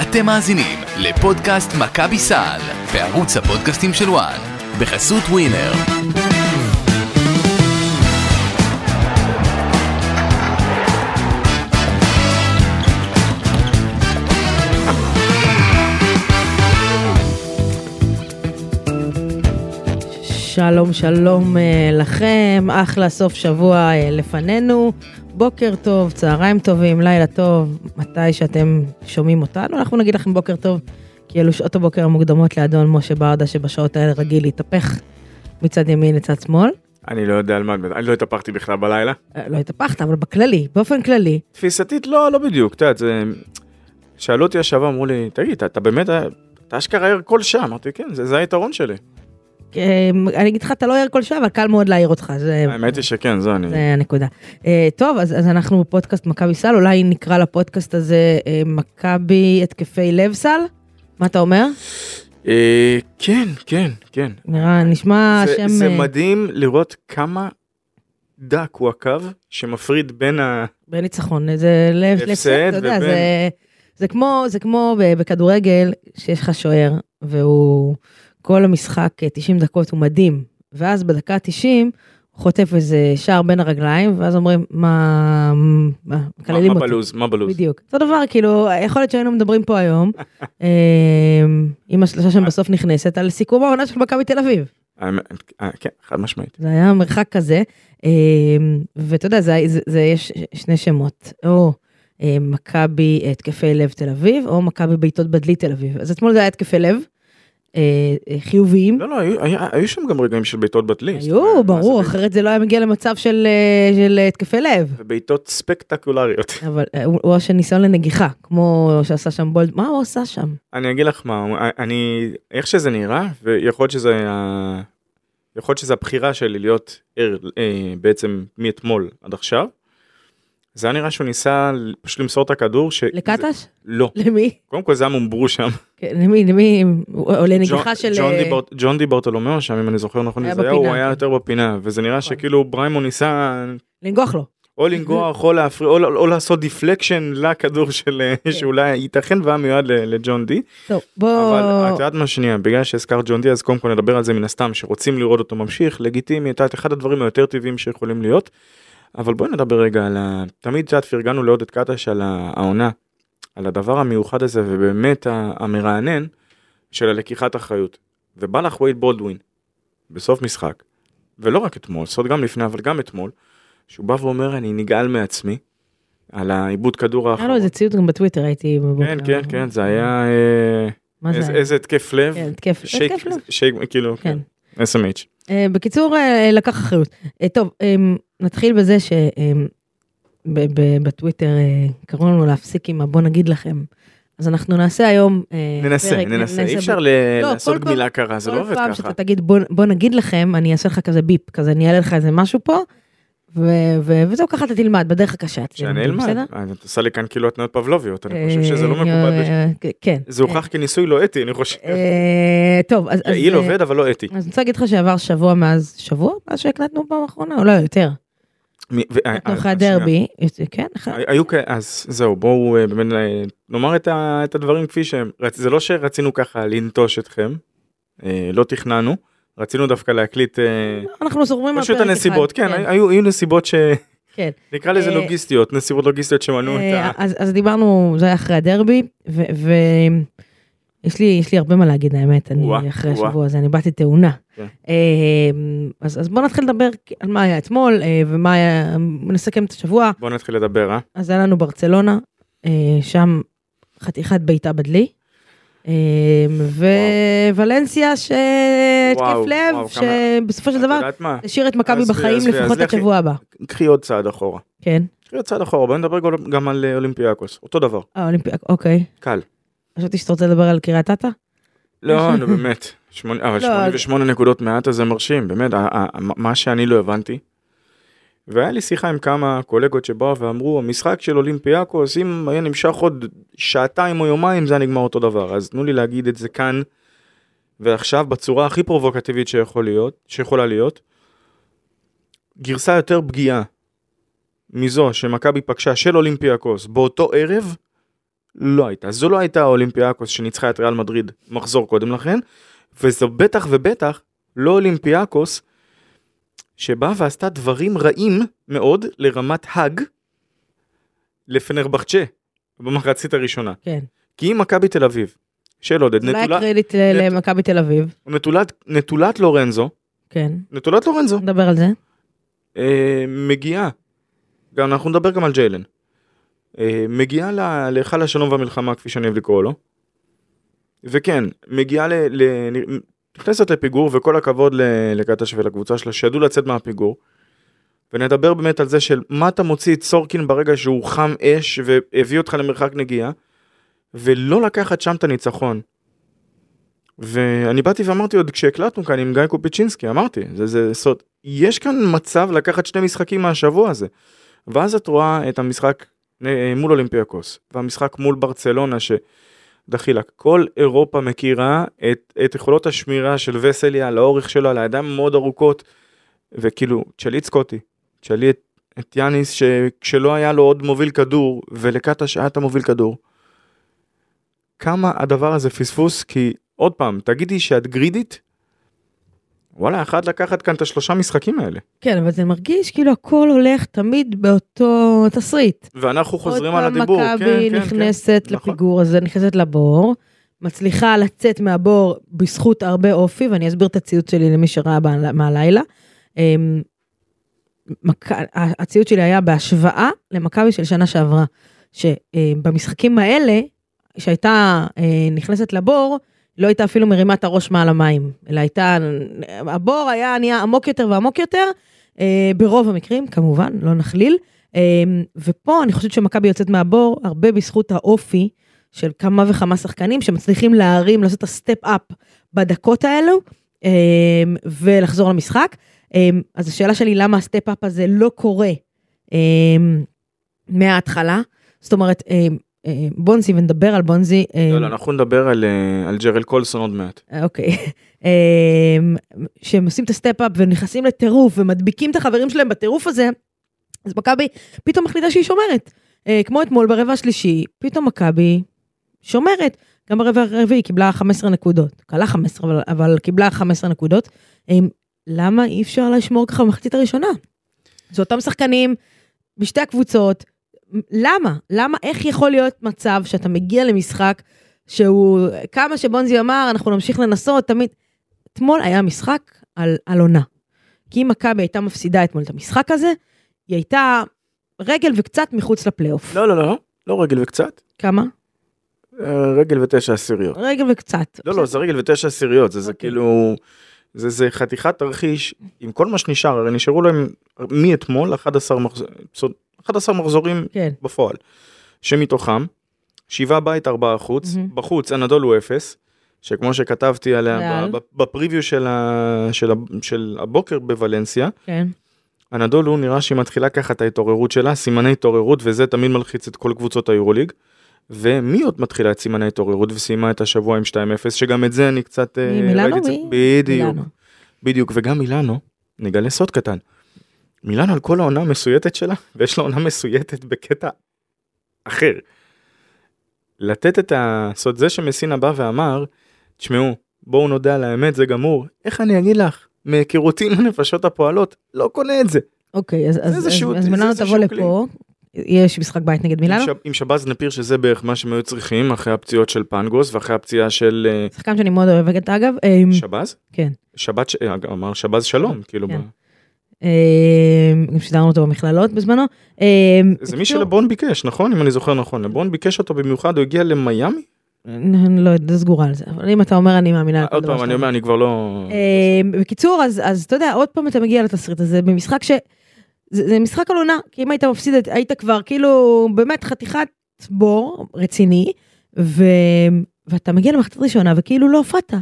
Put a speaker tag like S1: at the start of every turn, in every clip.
S1: אתם מאזינים לפודקאסט מכבי סל בערוץ הפודקאסטים של וואן בחסות ווינר.
S2: שלום, שלום אה, לכם, אחלה סוף שבוע אה, לפנינו. בוקר טוב, צהריים טובים, לילה טוב, מתי שאתם שומעים אותנו, אנחנו נגיד לכם בוקר טוב, כי אלו שעות הבוקר המוקדמות לאדון משה ברדה, שבשעות האלה רגיל להתהפך מצד ימין לצד שמאל.
S3: אני לא יודע על מה, אני לא התהפכתי בכלל בלילה.
S2: אה, לא התהפכת, אבל בכללי, באופן כללי,
S3: תפיסתית לא, לא בדיוק, את יודעת, זה... שאלו אותי השבוע, אמרו לי, תגיד, אתה- אתה באמת, אתה אשכרה ער כל שעה, אמרתי, כן, זה, זה היתרון שלי.
S2: אה, אני אגיד לך, אתה לא ער כל שעה, אבל קל מאוד להעיר אותך, זה...
S3: האמת היא שכן, זה אני...
S2: זה הנקודה. אה, טוב, אז, אז אנחנו בפודקאסט מכבי סל, אולי נקרא לפודקאסט הזה אה, מכבי התקפי לב סל? מה אתה אומר?
S3: אה, כן, כן, כן.
S2: נראה, נשמע
S3: זה,
S2: שם...
S3: זה
S2: אה,
S3: מדהים לראות כמה דק הוא הקו שמפריד בין ה...
S2: בין ניצחון, זה לב,
S3: הפסד
S2: להפסד, אתה יודע,
S3: ובין-
S2: זה, זה כמו, זה כמו ב- בכדורגל, שיש לך שוער, והוא כל המשחק, אה, 90 דקות, הוא מדהים, ואז בדקה 90, הוא חוטף איזה שער בין הרגליים, ואז אומרים, מה, מה,
S3: מה,
S2: מקללים
S3: מה
S2: אותו.
S3: בלוז, מה בלוז.
S2: בדיוק. אותו דבר, כאילו, יכול להיות שהיינו מדברים פה היום, אה, עם השלושה שם בסוף נכנסת, על סיכום העונה של מכבי תל אביב.
S3: האמת- אה, כן, חד משמעית.
S2: זה היה מרחק כזה, אה, ואתה יודע, זה, זה, זה יש שני שמות, או אה, מכבי התקפי לב תל אביב, או מכבי בעיטות בדלי תל אביב. אז אתמול זה היה התקפי לב, אה, אה, חיוביים.
S3: לא, לא, היו, היה, היו שם גם רגעים של בעיטות בטלי.
S2: היו, ברור, אחרת זה לא היה מגיע למצב של, אה, של אה, התקפי לב.
S3: ובעיטות ספקטקולריות.
S2: אבל אה, הוא הוא עושה ניסיון לנגיחה, כמו שעשה שם בולד, מה הוא עשה שם?
S3: אני אגיד לך מה, אני, איך שזה נראה, ויכול להיות שזה, ה- יכול להיות שזה הבחירה שלי להיות ער אה, בעצם מאתמול עד עכשיו. זה היה נראה שהוא ניסה ל- פשוט למסור את הכדור. ש... זה...
S2: לקטש?
S3: לא.
S2: למי?
S3: קודם כל זה היה מומברו שם.
S2: כן, למי, למי, או לנגיחה
S3: ג'ון-
S2: של...
S3: ג'ון
S2: אה,
S3: דיברט- ג'ון דיברטולומיאו שם, אם אני זוכר נכון,
S2: היה
S3: זה היה,
S2: בפינה,
S3: הוא היה
S2: כן. נכון.
S3: יותר בפינה, וזה נראה שכאילו בריימו ניסה
S2: לנגוח לו.
S3: או לנגוח או להפריע או, או לעשות דיפלקשן לכדור של אה,
S2: כן.
S3: שאולי ייתכן והיה מיועד ל- לג'ון די.
S2: טוב, בוא...
S3: אבל את יודעת מה שנייה בגלל שהזכרת ג'ון די אז קודם כל נדבר על זה מן הסתם שרוצים לראות אותו ממשיך לגיטימי את יודעת, אחד הדברים היותר טבעיים שיכולים להיות. אבל בואי נדבר רגע על ה... תמיד את יודעת פרגנו לעודד קטש על ה- העונה על הדבר המיוחד הזה ובאמת ה- המרענן של הלקיחת אחריות. ובא לך וייד בולדווין בסוף משחק ולא רק אתמול זאת אומרת גם לפני אבל גם אתמול שהוא בא ואומר אני נגעל מעצמי על העיבוד כדור
S2: היה לו
S3: האחרון.
S2: איזה ציוט גם בטוויטר, הייתי בבוקר.
S3: כן כן כן זה היה אה,
S2: מה זה
S3: איזה-
S2: היה?
S3: איזה התקף לב.
S2: כן, התקף
S3: שייק,
S2: התקף לב.
S3: שייק, כאילו,
S2: כן.
S3: כן, SMH.
S2: אה, בקיצור, אה, לקח אחריות. אה, טוב, אה, נתחיל בזה ש... אה, ב- ב- בטוויטר אה, קראו לנו להפסיק עם הבוא נגיד לכם. אז אנחנו נעשה היום אה,
S3: ננסה,
S2: פרק,
S3: ננסה, אי אפשר
S2: ב-
S3: ל-
S2: לא,
S3: לעשות
S2: כל פעם-
S3: גמילה קרה, זה לא עובד
S2: כל פעם
S3: ככה.
S2: שאתה תגיד בוא, בוא נגיד לכם, אני אעשה לך כזה ביפ, כזה אני אעלה לך איזה משהו פה, ו- ו- וזהו, ככה אתה תלמד, בדרך הקשה. אתה
S3: שאני
S2: תלמד,
S3: אלמד,
S2: בסדר?
S3: אה, את עושה לי כאן כאילו התניות פבלוביות, אני חושב שזה לא
S2: אה,
S3: מקובל. בש-
S2: אה, אה, כן.
S3: זה הוכח כניסוי לא אתי, אני חושב.
S2: אה, אה, טוב, אז... אז,
S3: יעיל
S2: אה,
S3: עובד, אבל לא אתי.
S2: אז אני רוצה להגיד לך שעבר שבוע מאז, שבוע? מאז שהקלטנו פעם אחרונה? או לא, יותר.
S3: מי- ו- אה,
S2: אנחנו
S3: אה,
S2: אחרי
S3: שנייה.
S2: הדרבי, יוצא- כן, אחרי...
S3: הי- היו כאלה, אז זהו, בואו אה, באמת אה, נאמר את ה- את הדברים כפי שהם. רצ- זה לא שרצינו ככה לנטוש אתכם, אה, לא תכננו, רצינו דווקא להקליט אה,
S2: אנחנו זורמים על פרק אחד.
S3: פשוט הנסיבות, כן, היו היו נסיבות ש...
S2: כן.
S3: נקרא לזה
S2: אה,
S3: לוגיסטיות, נסיבות לוגיסטיות שמנעו את
S2: אה,
S3: ה...
S2: אז אז דיברנו, זה היה אחרי הדרבי, ויש לי יש לי הרבה מה להגיד האמת,
S3: וואה,
S2: אני אחרי
S3: וואה.
S2: השבוע הזה, אני באתי תאונה.
S3: כן.
S2: אה, אז אז בוא נתחיל לדבר על מה היה אתמול, אה, ומה היה, נסכם את השבוע.
S3: בוא נתחיל לדבר, אה?
S2: אז היה לנו ברצלונה, אה, שם חתיכת בעיטה בדלי. אה, ווולנסיה שהתקף
S3: וואו,
S2: לב,
S3: וואו, כמה-
S2: שבסופו של
S3: את
S2: דבר
S3: יודעת מה?
S2: השאיר את מכבי
S3: עזבי,
S2: בחיים
S3: עזבי,
S2: לפחות
S3: אז
S2: עד
S3: לכי.
S2: שבוע הבא.
S3: קחי עוד צעד אחורה.
S2: כן,
S3: קחי עוד צעד אחורה, בוא נדבר גם- גם על אה, אולימפיאקוס, אותו דבר,
S2: אה, אולימפיאק, אוקיי.
S3: קל.
S2: חשבתי שאתה רוצה לדבר על קריית אתא?
S3: לא, נו באמת, שמונה- אבל
S2: לא,
S3: 88 נקודות מעט זה מרשים, באמת, ה- ה- ה- מה שאני לא הבנתי. והיה לי שיחה עם כמה קולגות שבאו ואמרו, המשחק של אולימפיאקוס, אם היה נמשך עוד שעתיים או יומיים, זה היה נגמר אותו דבר. אז תנו לי להגיד את זה כאן, ועכשיו, בצורה הכי פרובוקטיבית שיכול להיות, שיכולה להיות. גרסה יותר פגיעה מזו שמכבי פגשה של אולימפיאקוס באותו ערב, לא הייתה. זו לא הייתה האולימפיאקוס שניצחה את ריאל מדריד מחזור קודם לכן, וזו בטח ובטח לא אולימפיאקוס שבאה ועשתה דברים רעים מאוד לרמת האג לפנרבחצ'ה במחצית הראשונה.
S2: כן.
S3: כי אם מכבי תל אביב, של עודד,
S2: אולי
S3: נטולה,
S2: הקרדיט
S3: נטול-
S2: ל- למכבי תל אביב.
S3: נטולת, נטולת לורנזו,
S2: כן.
S3: נטולת לורנזו,
S2: נדבר על זה.
S3: אה, מגיעה, גם אנחנו נדבר גם על ג'יילן, אה, מגיעה ל- להיכל השלום והמלחמה כפי שאני אוהב לקרוא לו, וכן, מגיעה ל... ל נכנסת לפיגור וכל הכבוד ל- לקטש ולקבוצה שלה שידעו לצאת מהפיגור. ונדבר באמת על זה של מה אתה מוציא את סורקין ברגע שהוא חם אש והביא אותך למרחק נגיעה ולא לקחת שם את הניצחון. ואני באתי ואמרתי עוד כשהקלטנו כאן עם גיא קופיצ'ינסקי אמרתי זה זה סוד יש כאן מצב לקחת שני משחקים מהשבוע הזה. ואז את רואה את המשחק אה, מול אולימפיאקוס והמשחק מול ברצלונה שדחילה כל אירופה מכירה את, את יכולות השמירה של וסליה לאורך שלו על הידיים מאוד ארוכות וכאילו תשאלי את סקוטי תשאלי את, את יאניס שכשלא היה לו עוד מוביל כדור ולקטש היה את המוביל כדור. כמה הדבר הזה פספוס כי עוד פעם תגידי שאת גרידית. וואלה אחת לקחת כאן את השלושה משחקים האלה.
S2: כן, אבל זה מרגיש כאילו הכל הולך תמיד באותו תסריט.
S3: ואנחנו חוזרים על
S2: עוד פעם
S3: הדיבור.
S2: מכבי
S3: כן, כן,
S2: נכנסת
S3: כן. נכון.
S2: לפיגור הזה, נכנסת לבור, מצליחה לצאת מהבור בזכות הרבה אופי, ואני אסביר את הציוץ שלי למי שראה ב- מהלילה. אמ, מק- ה- הציוץ שלי היה בהשוואה למכבי של שנה שעברה, שבמשחקים האלה, שהייתה אה, נכנסת לבור, לא הייתה אפילו מרימה את הראש מעל המים, אלא הייתה, הבור היה נהיה עמוק יותר ועמוק יותר, אה, ברוב המקרים, כמובן, לא נכליל, אמ, ופה אני חושבת שמכבי יוצאת מהבור הרבה בזכות האופי של כמה וכמה שחקנים שמצליחים להרים, לעשות את הסטפ-אפ בדקות האלו אמ, ולחזור למשחק. אמ, אז השאלה שלי, למה הסטפ-אפ הזה לא קורה אמ, מההתחלה? זאת אומרת, אמ, אמ, בונזי, ונדבר על בונזי. אמ,
S3: לא, לא, אנחנו נדבר על, אה, על ג'רל קולסון עוד מעט.
S2: אוקיי. אמ, שהם עושים את הסטפ-אפ ונכנסים לטירוף ומדביקים את החברים שלהם בטירוף הזה, אז מכבי פתאום מחליטה שהיא שומרת. אה, כמו אתמול ברבע השלישי, פתאום מכבי שומרת. גם ברבע הרביעי היא קיבלה 15 נקודות. קלה 15, אבל, אבל קיבלה 15 נקודות. אמ, למה אי אפשר לשמור ככה במחצית הראשונה? זה אותם שחקנים בשתי הקבוצות. למה? למה? איך יכול להיות מצב שאתה מגיע למשחק שהוא, כמה שבונזי אמר, אנחנו נמשיך לנסות, תמיד... אתמול היה משחק על, על עונה. כי אם מכבי הייתה מפסידה אתמול את המשחק הזה, היא הייתה רגל וקצת מחוץ לפלייאוף.
S3: לא, לא, לא, לא רגל וקצת,
S2: כמה?
S3: אה, רגל ותשע עשיריות.
S2: רגל וקצת.
S3: לא, לא, זה רגל ותשע עשיריות, זה, זה
S2: אוקיי.
S3: כאילו, זה, זה חתיכת תרחיש עם כל מה שנשאר, הרי נשארו להם מאתמול 11, מחז... בסוד- 11 מחזורים
S2: כן.
S3: בפועל, שמתוכם שבעה בית, ארבעה חוץ,
S2: מהמם.
S3: בחוץ אנדולו אפס, שכמו שכתבתי עליה
S2: ריאל.
S3: ב- ב- בפריוויו של, ה... של, ה... של הבוקר בוולנסיה,
S2: כן.
S3: הנדולו נראה שהיא מתחילה ככה את ההתעוררות שלה, סימני התעוררות, וזה תמיד מלחיץ את כל קבוצות היורוליג. ומי עוד מתחילה את סימני התעוררות וסיימה את השבוע עם 2-0, שגם את זה אני קצת... אה,
S2: מי, מילאנו?
S3: ראיתי את זה-
S2: מי?
S3: בדיוק,
S2: מילאנו.
S3: בדיוק, וגם מילאנו, נגלה סוד קטן. מילאנו על כל העונה המסויטת שלה, ויש לה עונה מסויטת בקטע אחר. לתת את הסוד, זה שמסינה בא ואמר, תשמעו, בואו נודה על האמת, זה גמור. איך אני אגיד לך? מהיכרותי עם הנפשות הפועלות, לא קונה את זה.
S2: אוקיי, אז- אז
S3: איזשהו-
S2: אז- אז
S3: זה
S2: מילאנו
S3: איזשהו
S2: תבוא
S3: כלי.
S2: לפה, יש משחק בית נגד
S3: עם
S2: מילאנו.
S3: שב- עם שבאז נפיר שזה בערך מה שהם היו צריכים אחרי הפציעות של פנגוס ואחרי הפציעה של אה,
S2: שחקן שאני מאוד אוהבת, אגב. אמ,
S3: שבאז?
S2: כן.
S3: שבת, ש- אה, אמר שבאז שלום, כאילו,
S2: כן.
S3: ב-
S2: אמ, גם שידרנו אותו במכללות בזמנו. אמ,
S3: זה
S2: בקיצור,
S3: מי שלברון ביקש, נכון? אם אני זוכר נכון, לברון ביקש אותו במיוחד, הוא הגיע למיאמי?
S2: אני לא יודעת, סגורה על זה, אבל אם אה, אתה אומר אני מאמינה לכל
S3: עוד
S2: דבר
S3: פעם,
S2: שאתה
S3: אני אומר, אני כבר לא...
S2: אה, בקיצור, אז, אז אתה יודע, עוד פעם אתה מגיע לתסריט הזה במשחק ש... זה, זה משחק על עונה, כי אם היית מפסיד, היית כבר כאילו באמת חתיכת בור רציני, ו... ואתה מגיע למחצית ראשונה וכאילו לא הופעת.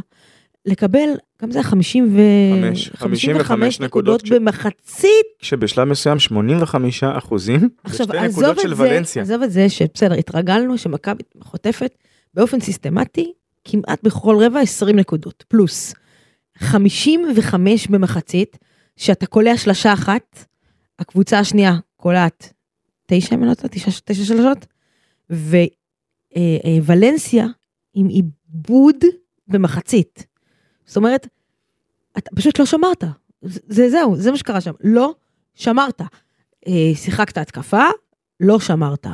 S2: לקבל, גם זה היה 50 ו...
S3: חמש, 55 נקודות כש-
S2: במחצית.
S3: שבשלב מסוים 85 אחוזים, זה
S2: עכשיו,
S3: שתי
S2: עזוב
S3: נקודות של
S2: את זה, אה,
S3: ולנסיה.
S2: עזוב את זה שבסדר, התרגלנו שמכבי חוטפת באופן סיסטמטי כמעט בכל רבע 20 נקודות, פלוס. 55 במחצית, שאתה קולע שלשה אחת, הקבוצה השנייה קולעת תשע, אם אני לא טועה, תשע, תשע שלשות, והיא אה, אה, ולנסיה עם עיבוד במחצית. זאת אומרת, אתה פשוט לא שמרת. זה- זה זהו, זה מה שקרה שם. לא שמרת. אה, שיחקת התקפה, לא שמרת.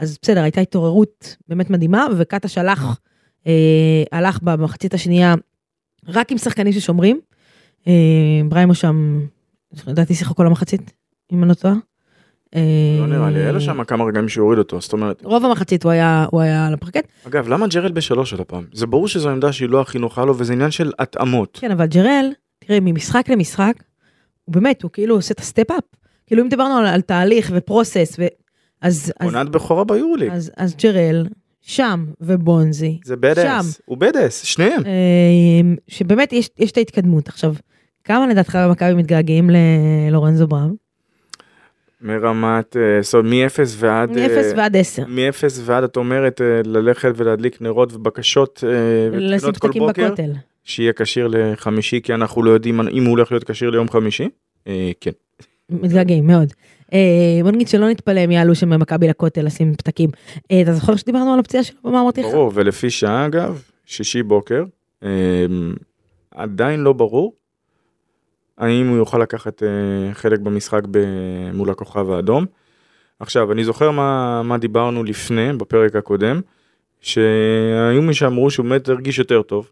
S2: אז בסדר, הייתה התעוררות באמת מדהימה, וקאטה שלח, אה, הלך במחצית השנייה רק עם שחקנים ששומרים. אה, בריימו שם, לדעתי שיחק כל המחצית, אם אני לא טועה. אה,
S3: לא נראה לי, היה לו שם כמה רגעים שהוריד אותו, זאת אומרת,
S2: רוב המחצית הוא היה, הוא היה על הפרקט.
S3: אגב, למה ג'רל בשלוש עוד הפעם? זה ברור שזו עמדה שהיא לא הכי נוחה לו, וזה עניין של התאמות.
S2: כן, אבל ג'רל, תראה, ממשחק למשחק, הוא באמת, הוא כאילו עושה את הסטפ-אפ. כאילו, אם דיברנו על, על תהליך ופרוסס, ו... אז, אז,
S3: עונת בכורה ביורוליג,
S2: אז, אז ג'רל, שם, ובונזי,
S3: זה בד אס,
S2: שם.
S3: הוא בד אס, שניהם.
S2: אה, שבאמת יש, יש את ההתקדמות. עכשיו, כמה לדעתך במכבי מתגעגעים ללורנזו בראם?
S3: מרמת, אה, זאת אומרת, מ-0 ועד... אה,
S2: מ-0 ועד 10.
S3: מ-0 ועד את אומרת אה, ללכת ולהדליק נרות ובקשות אה,
S2: לשים
S3: ותפילות כל
S2: פתקים
S3: בוקר,
S2: בכותל.
S3: שיהיה כשיר לחמישי כי אנחנו לא יודעים אם הוא הולך להיות כשיר ליום חמישי. אה, כן.
S2: מתגעגעים מאוד. אה, בוא נגיד שלא נתפלא אם יעלו שם ממכבי לכותל לשים פתקים. אה, אתה זוכר שדיברנו על הפציעה שלו? מה אמרתי לך?
S3: ברור, ולפי שעה אגב, שישי בוקר, אה, עדיין לא ברור האם הוא יוכל לקחת אה, חלק במשחק ב- מול הכוכב האדום. עכשיו, אני זוכר מה, מה דיברנו לפני, בפרק הקודם, שהיו מי שאמרו שהוא באמת הרגיש יותר טוב.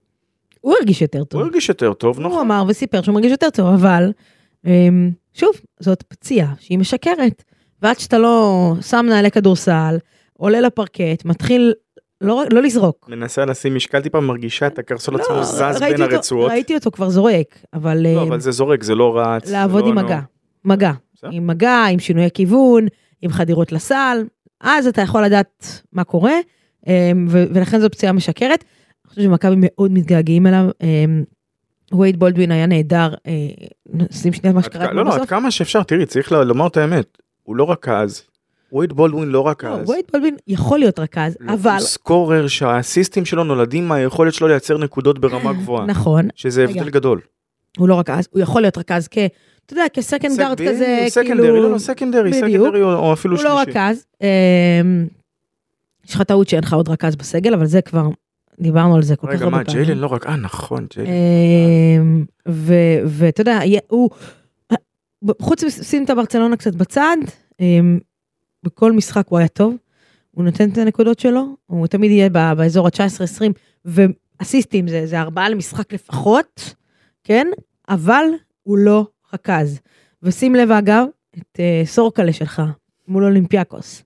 S2: הוא הרגיש יותר טוב. לא.
S3: הוא הרגיש יותר טוב,
S2: הוא
S3: נכון.
S2: אמר וסיפר שהוא מרגיש יותר טוב, אבל אמ, שוב, זאת פציעה שהיא משקרת. ועד שאתה לא שם נעלי כדורסל, עולה לפרקט, מתחיל לא, לא לזרוק.
S3: מנסה לשים משקל טיפה, מרגישה את הקרסול עצמו
S2: לא,
S3: זז
S2: ראיתי
S3: בין
S2: אותו-
S3: הרצועות.
S2: ראיתי אותו כבר זורק, אבל,
S3: לא,
S2: אמ,
S3: אבל זה זורק, זה לא רץ. זה
S2: לעבוד
S3: לא-
S2: עם
S3: נו.
S2: מגע. מגע.
S3: בסדר.
S2: עם מגע, עם שינויי כיוון, עם חדירות לסל, אז אתה יכול לדעת מה קורה, אמ, ו- ולכן זו פציעה משקרת. אני חושבת שמכבי מאוד מתגעגעים אליו. אמ, וייד בולדווין היה נהדר, אה, נשים שנייה מה
S3: עד
S2: שקרה
S3: כ- לא, לא, עד כמה שאפשר, תראי, צריך ל- לומר את האמת, הוא לא רכז, וייד בולדווין לא
S2: לא,
S3: רכז.
S2: וייד בולדווין יכול להיות רכז,
S3: לא,
S2: אבל...
S3: הוא סקורר שהאסיסטים שלו נולדים מהיכולת שלו לייצר נקודות ברמה גבוהה,
S2: נכון,
S3: שזה
S2: רגע.
S3: הבדל גדול.
S2: הוא לא רכז, הוא יכול להיות רכז כ... אתה יודע, כסקנד כן, גארד
S3: סק-
S2: כזה,
S3: בדיוק,
S2: כאילו...
S3: סקנדרי, לא, לא, סקנדרי,
S2: בדיוק.
S3: סקנדרי או או אפילו
S2: הוא לא
S3: שלישי.
S2: רכז. אמ, יש לך טעות שאין לך עוד רכז בסגל, אבל זה כבר... דיברנו על זה כל כך
S3: רגע, מה,
S2: הרבה פעמים.
S3: ג'יילן לא רק, אה, נכון, ג'יילן.
S2: אמ, ו- ואתה יודע, יה- הוא, חוץ משים את הברצלונה קצת בצד, אמ, בכל משחק הוא היה טוב, הוא נותן את הנקודות שלו, הוא תמיד יהיה ב- באזור ה-19-20, ואסיסטים זה, זה ארבעה למשחק לפחות, כן? אבל הוא לא רכז. ושים לב אגב, את אה, סורקלה שלך, מול אולימפיאקוס.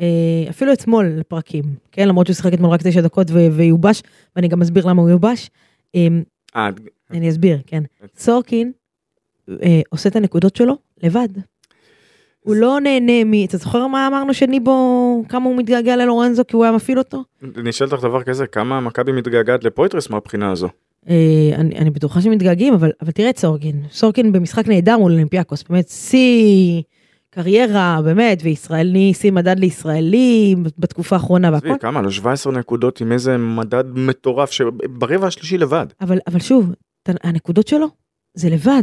S2: אה, אפילו אתמול לפרקים, כן? למרות שהוא שיחק אתמול רק תשע דקות ו- ויובש, ואני גם אסביר למה הוא יובש. אמ,
S3: אה,
S2: אני אסביר, כן.
S3: אוקיי.
S2: סורקין אה, עושה את הנקודות שלו לבד. הוא לא נהנה מ... אתה זוכר מה אמרנו שניבו, כמה הוא מתגעגע ללורנזו כי הוא היה מפעיל אותו?
S3: אני אשאל אותך דבר כזה, כמה מכבי מתגעגעת לפויטרס מהבחינה הזו?
S2: אה, אני, אני בטוחה שמתגעגעים, אבל, אבל תראה את סורקין. סורקין במשחק נהדר מול אולימפיאקוס, באמת שיא קריירה, באמת, וישראלי, שיא מדד לישראלי בתקופה האחרונה והכל.
S3: עזבי, כמה? לא 17 נקודות עם איזה מדד מטורף שברבע השלישי לבד.
S2: אבל, אבל שוב, ת- הנקודות שלו זה לבד.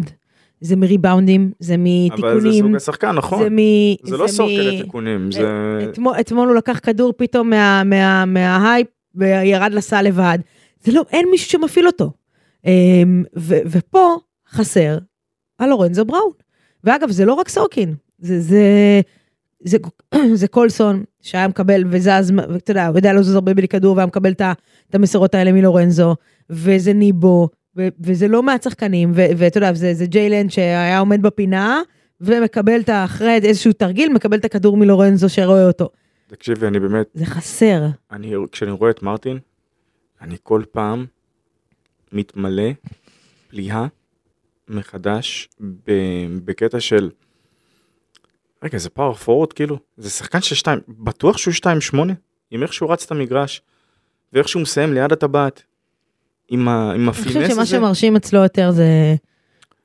S2: זה מריבאונדים, זה
S3: אבל זה סוג
S2: מתיקונים,
S3: השחקן, נכון.
S2: זה מ...
S3: זה לא
S2: מ- אה,
S3: סורקל לתיקונים, זה...
S2: אתמול, אתמול הוא לקח כדור פתאום מה, מה, מההייפ וירד לסל לבד. זה לא, אין מישהו שמפעיל אותו. אמ, ו, ופה חסר הלורנזו בראון. ואגב, זה לא רק סורקין, זה, זה, זה, זה קולסון שהיה מקבל וזז, ואתה יודע, הוא יודע לזוז הרבה בלי כדור והיה מקבל את ה- את המסירות האלה מלורנזו, וזה ניבו, ו, וזה לא מהצחקנים, ו- ואתה יודע, זה, זה ג'יילן שהיה עומד בפינה. ומקבל את ה- אחרי איזשהו תרגיל, מקבל את הכדור מלורנזו שרואה אותו.
S3: תקשיבי, אני באמת,
S2: זה חסר.
S3: אני, כשאני רואה את מרטין, אני כל פעם מתמלא פליאה מחדש ב, בקטע של... רגע, זה פאוור פורוד כאילו? זה שחקן של שתיים, בטוח שהוא שתיים שמונה? עם איך שהוא רץ את המגרש, ואיך שהוא מסיים ליד הטבעת, עם, ה, עם
S2: אני חושבת
S3: הפינס
S2: שמה
S3: הזה.
S2: שמרשים אצלו יותר זה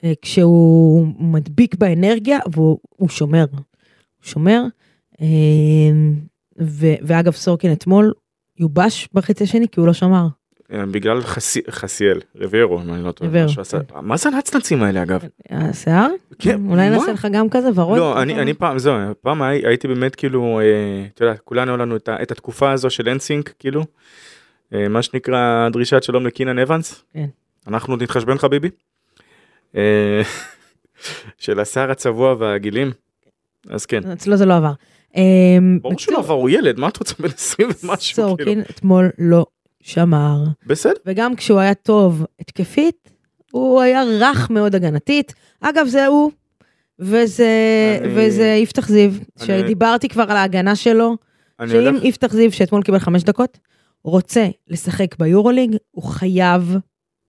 S2: אה, כשהוא מדביק באנרגיה והוא הוא שומר. הוא שומר. אה, ו- ואגב, סורקין אתמול יובש בחצי השני כי הוא לא שמר.
S3: אה, בגלל חסי- חסיאל, ריביירו, אם אני לא טועה.
S2: ריביירו,
S3: מה שהוא עשה- מה זה הנצנצים האלה אגב?
S2: השיער?
S3: כן,
S2: אולי
S3: מה?
S2: נעשה לך גם כזה ורוד?
S3: לא, אני, אני פעם, זהו, פעם הי- הייתי באמת כאילו, אה, אתה יודע, כולנו היה לנו את, ה- את התקופה הזו של אינסינק, כאילו, אה, מה שנקרא דרישת שלום לקינן אבנס.
S2: כן.
S3: אנחנו עוד נתחשבן חביבי. אה, של השיער הצבוע והגילים. אז כן.
S2: אצלו זה לא עבר. אה,
S3: ברור
S2: בקיצור,
S3: שהוא לא עבר, הוא ילד, מה את רוצה בן 20 ומשהו, כאילו.
S2: סורקין אתמול לא שמר.
S3: בסדר,
S2: וגם כשהוא היה טוב התקפית, הוא היה רך מאוד הגנתית. אגב, זה הוא, וזה,
S3: אני-
S2: וזה יפתח זיו,
S3: אני-
S2: שדיברתי כבר על ההגנה שלו,
S3: אני
S2: שאם
S3: הולך,
S2: יפתח זיו, שאתמול קיבל חמש דקות, רוצה לשחק ביורוליג, הוא חייב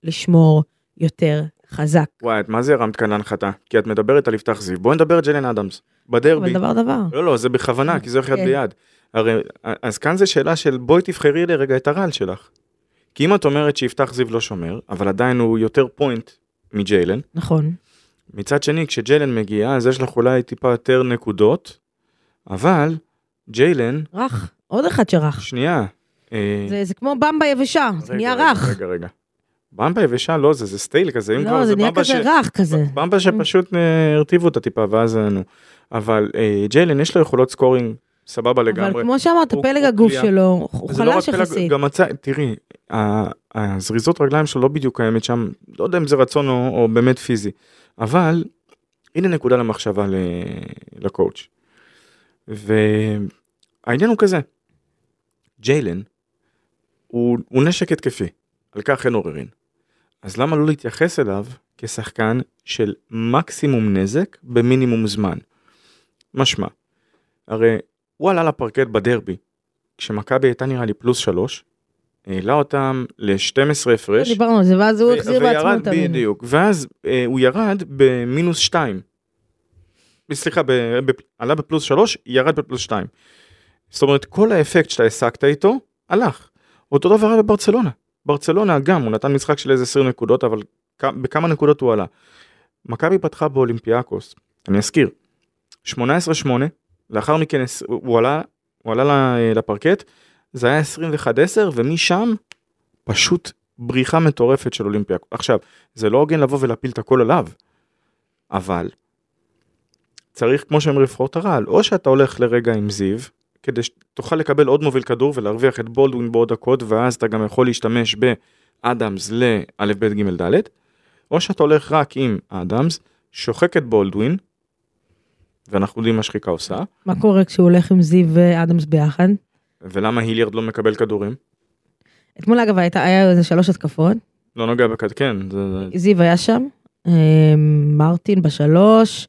S2: לשמור יותר חזק.
S3: וואי, את מה זה הרמת כאן להנחתה? כי את מדברת על יפתח זיו, בואי נדבר על ג'לן אדמס.
S2: אבל
S3: בדרבי.
S2: דבר דבר.
S3: לא, לא, זה בכוונה, כי זה הולך יד
S2: כן.
S3: ביד. הרי, אז כאן זו שאלה של בואי תבחרי לרגע את הרעל שלך. כי אם את אומרת שיפתח זיו לא שומר, אבל עדיין הוא יותר פוינט מג'יילן,
S2: נכון.
S3: מצד שני, כשג'יילן מגיע, אז יש לך אולי טיפה יותר נקודות, אבל ג'יילן,
S2: רך. עוד אחד שרך.
S3: שנייה. אה,
S2: זה, זה כמו במבה יבשה, זה
S3: רגע,
S2: נהיה
S3: רגע,
S2: רך.
S3: רגע, רגע. במבה יבשה לא זה, זה סטייל כזה, אם כבר
S2: לא, זה כן. נהיה
S3: במבה
S2: כזה
S3: ש-
S2: רך כזה.
S3: במבה שפשוט אה, הרטיבו אותה טיפה ואז אה, נו. אבל אה, ג'יילן יש לו יכולות סקורינג סבבה לגמרי.
S2: אבל כמו שאמרת,
S3: הוא-
S2: פלג
S3: הוא
S2: הגוף
S3: קליעה.
S2: שלו, הוא
S3: זה לא רק
S2: חלש
S3: פלג-
S2: יחסית.
S3: גם הצ... תראי, ה- הזריזות רגליים שלו לא בדיוק קיימת שם, לא יודע אם זה רצון או, או באמת פיזי, אבל הנה נקודה למחשבה ל... לקואוצ'. והעניין הוא כזה, ג'יילן הוא, הוא נשק התקפי, על כך אין עוררין. אז למה לא להתייחס אליו כשחקן של מקסימום נזק במינימום זמן? משמע, הרי הוא עלה לפרקט בדרבי, כשמכבי הייתה נראה לי פלוס שלוש, העלה אותם ל-12 הפרש.
S2: דיברנו על זה, ואז הוא
S3: ו-
S2: החזיר
S3: וירד
S2: בעצמו את המינוס.
S3: בדיוק, ואז אה, הוא ירד במינוס 2. סליחה, ב, ב, עלה בפלוס 3, ירד בפלוס 2. זאת אומרת, כל האפקט שאתה העסקת איתו, הלך. אותו דבר היה בברצלונה. ברצלונה גם, הוא נתן משחק של איזה 20 נקודות, אבל כ- בכמה נקודות הוא עלה. מכבי פתחה באולימפיאקוס, אני אזכיר, 18-8, לאחר מכן עש- הוא הוא עלה, הוא עלה ל- לפרקט, זה היה 21-10, ומשם פשוט בריחה מטורפת של אולימפיאקוס. עכשיו, זה לא הוגן לבוא ולהפיל את הכל עליו, אבל צריך, כמו שהם לבחור את הרעל, או שאתה הולך לרגע עם זיו, כדי שתוכל לקבל עוד מוביל כדור ולהרוויח את בולדווין בעוד דקות, ואז אתה גם יכול להשתמש באדמס לאלף בית ג' ד', או שאתה הולך רק עם אדמס, שוחק את בולדווין, ואנחנו יודעים מה שחיקה עושה,
S2: מה קורה כשהוא הולך עם זיו ואדמס ביחד?
S3: ולמה היליארד לא מקבל כדורים?
S2: אתמול אגב הייתה- היה איזה שלוש התקפות,
S3: לא נוגע בכד, כן, זה... זה-
S2: זיו היה שם, אה, מרטין בשלוש,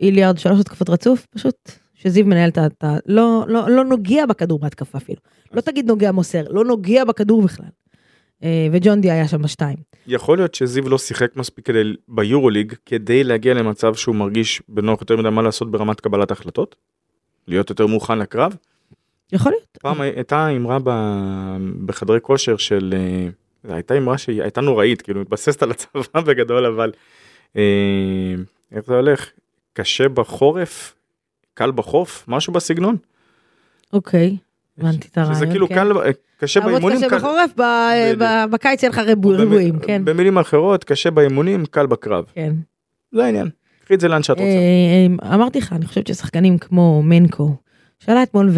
S2: איליארד שלוש התקפות רצוף, פשוט שזיו מנהל את ה... את ה- לא- לא לא נוגע בכדור בהתקפה אפילו. לא תגיד נוגע מוסר, לא נוגע בכדור בכלל. אה, וג'ון די היה שם בשתיים.
S3: יכול להיות שזיו לא שיחק מספיק כדי, ביורוליג כדי להגיע למצב שהוא מרגיש בנוח יותר מדי מה לעשות ברמת קבלת החלטות? להיות יותר מוכן לקרב?
S2: יכול להיות.
S3: פעם הייתה אמרה ב... בחדרי כושר של... אה, זו הייתה אמרה שהיא הייתה נוראית, כאילו מתבססת על הצבא בגדול, אבל אה, איך זה הולך? קשה בחורף? קל בחוף? משהו בסגנון?
S2: אוקיי, הבנתי את הרעיון.
S3: שזה כאילו
S2: כן.
S3: קל, קשה
S2: לעבוד
S3: באימונים,
S2: קשה
S3: קל-
S2: בחורף, ב-
S3: בדיוק.
S2: ב- בקיץ יהיה לך ריבוי-
S3: במ-
S2: ריבועים, כן.
S3: במילים אחרות, קשה באימונים, קל בקרב.
S2: כן.
S3: זה העניין. קחי את זה לאן שאת רוצה.
S2: אה, אה, אמרתי לך, אני חושבת ששחקנים כמו מנקו, שאלה אתמול,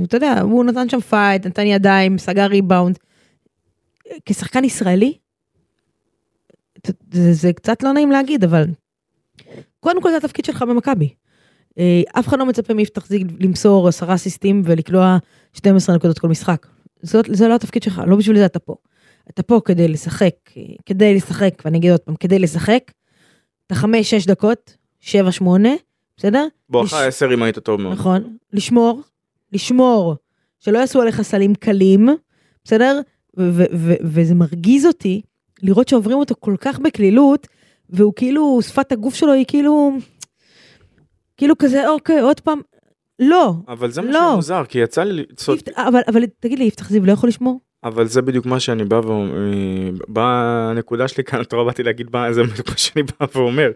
S2: ואתה יודע, הוא נתן שם פייט, נתן ידיים, סגר ריבאונד. אה, כשחקן ישראלי, ת- זה, זה קצת לא נעים להגיד, אבל קודם כל זה התפקיד שלך במכבי. אה, אף אחד לא מצפה מיפתח זיג למסור עשרה סיסטים ולקלוע 12 נקודות כל משחק. זאת, זה לא התפקיד שלך, לא בשביל זה אתה פה. אתה פה כדי לשחק, אה, כדי לשחק, ואני אגיד עוד פעם, כדי לשחק, אתה חמש, שש דקות, שבע, שמונה, בסדר?
S3: בואכה 10 אם היית טוב מאוד.
S2: נכון. לשמור, לשמור, שלא יעשו עליך סלים קלים, בסדר? ו- ו- ו- וזה מרגיז אותי לראות שעוברים אותו כל כך בקלילות, והוא כאילו, שפת הגוף שלו היא כאילו, כאילו כזה, אוקיי, עוד פעם, לא.
S3: אבל זה
S2: לא.
S3: מה שמוזר, כי יצא לי... לצוד-
S2: יפת- אבל, אבל תגיד לי, יפתח זיו לא יכול לשמור?
S3: אבל זה בדיוק מה שאני בא ואומר, בנקודה שלי כאן, אתה רואה, באתי להגיד מה זה בדיוק מה שאני בא ואומר.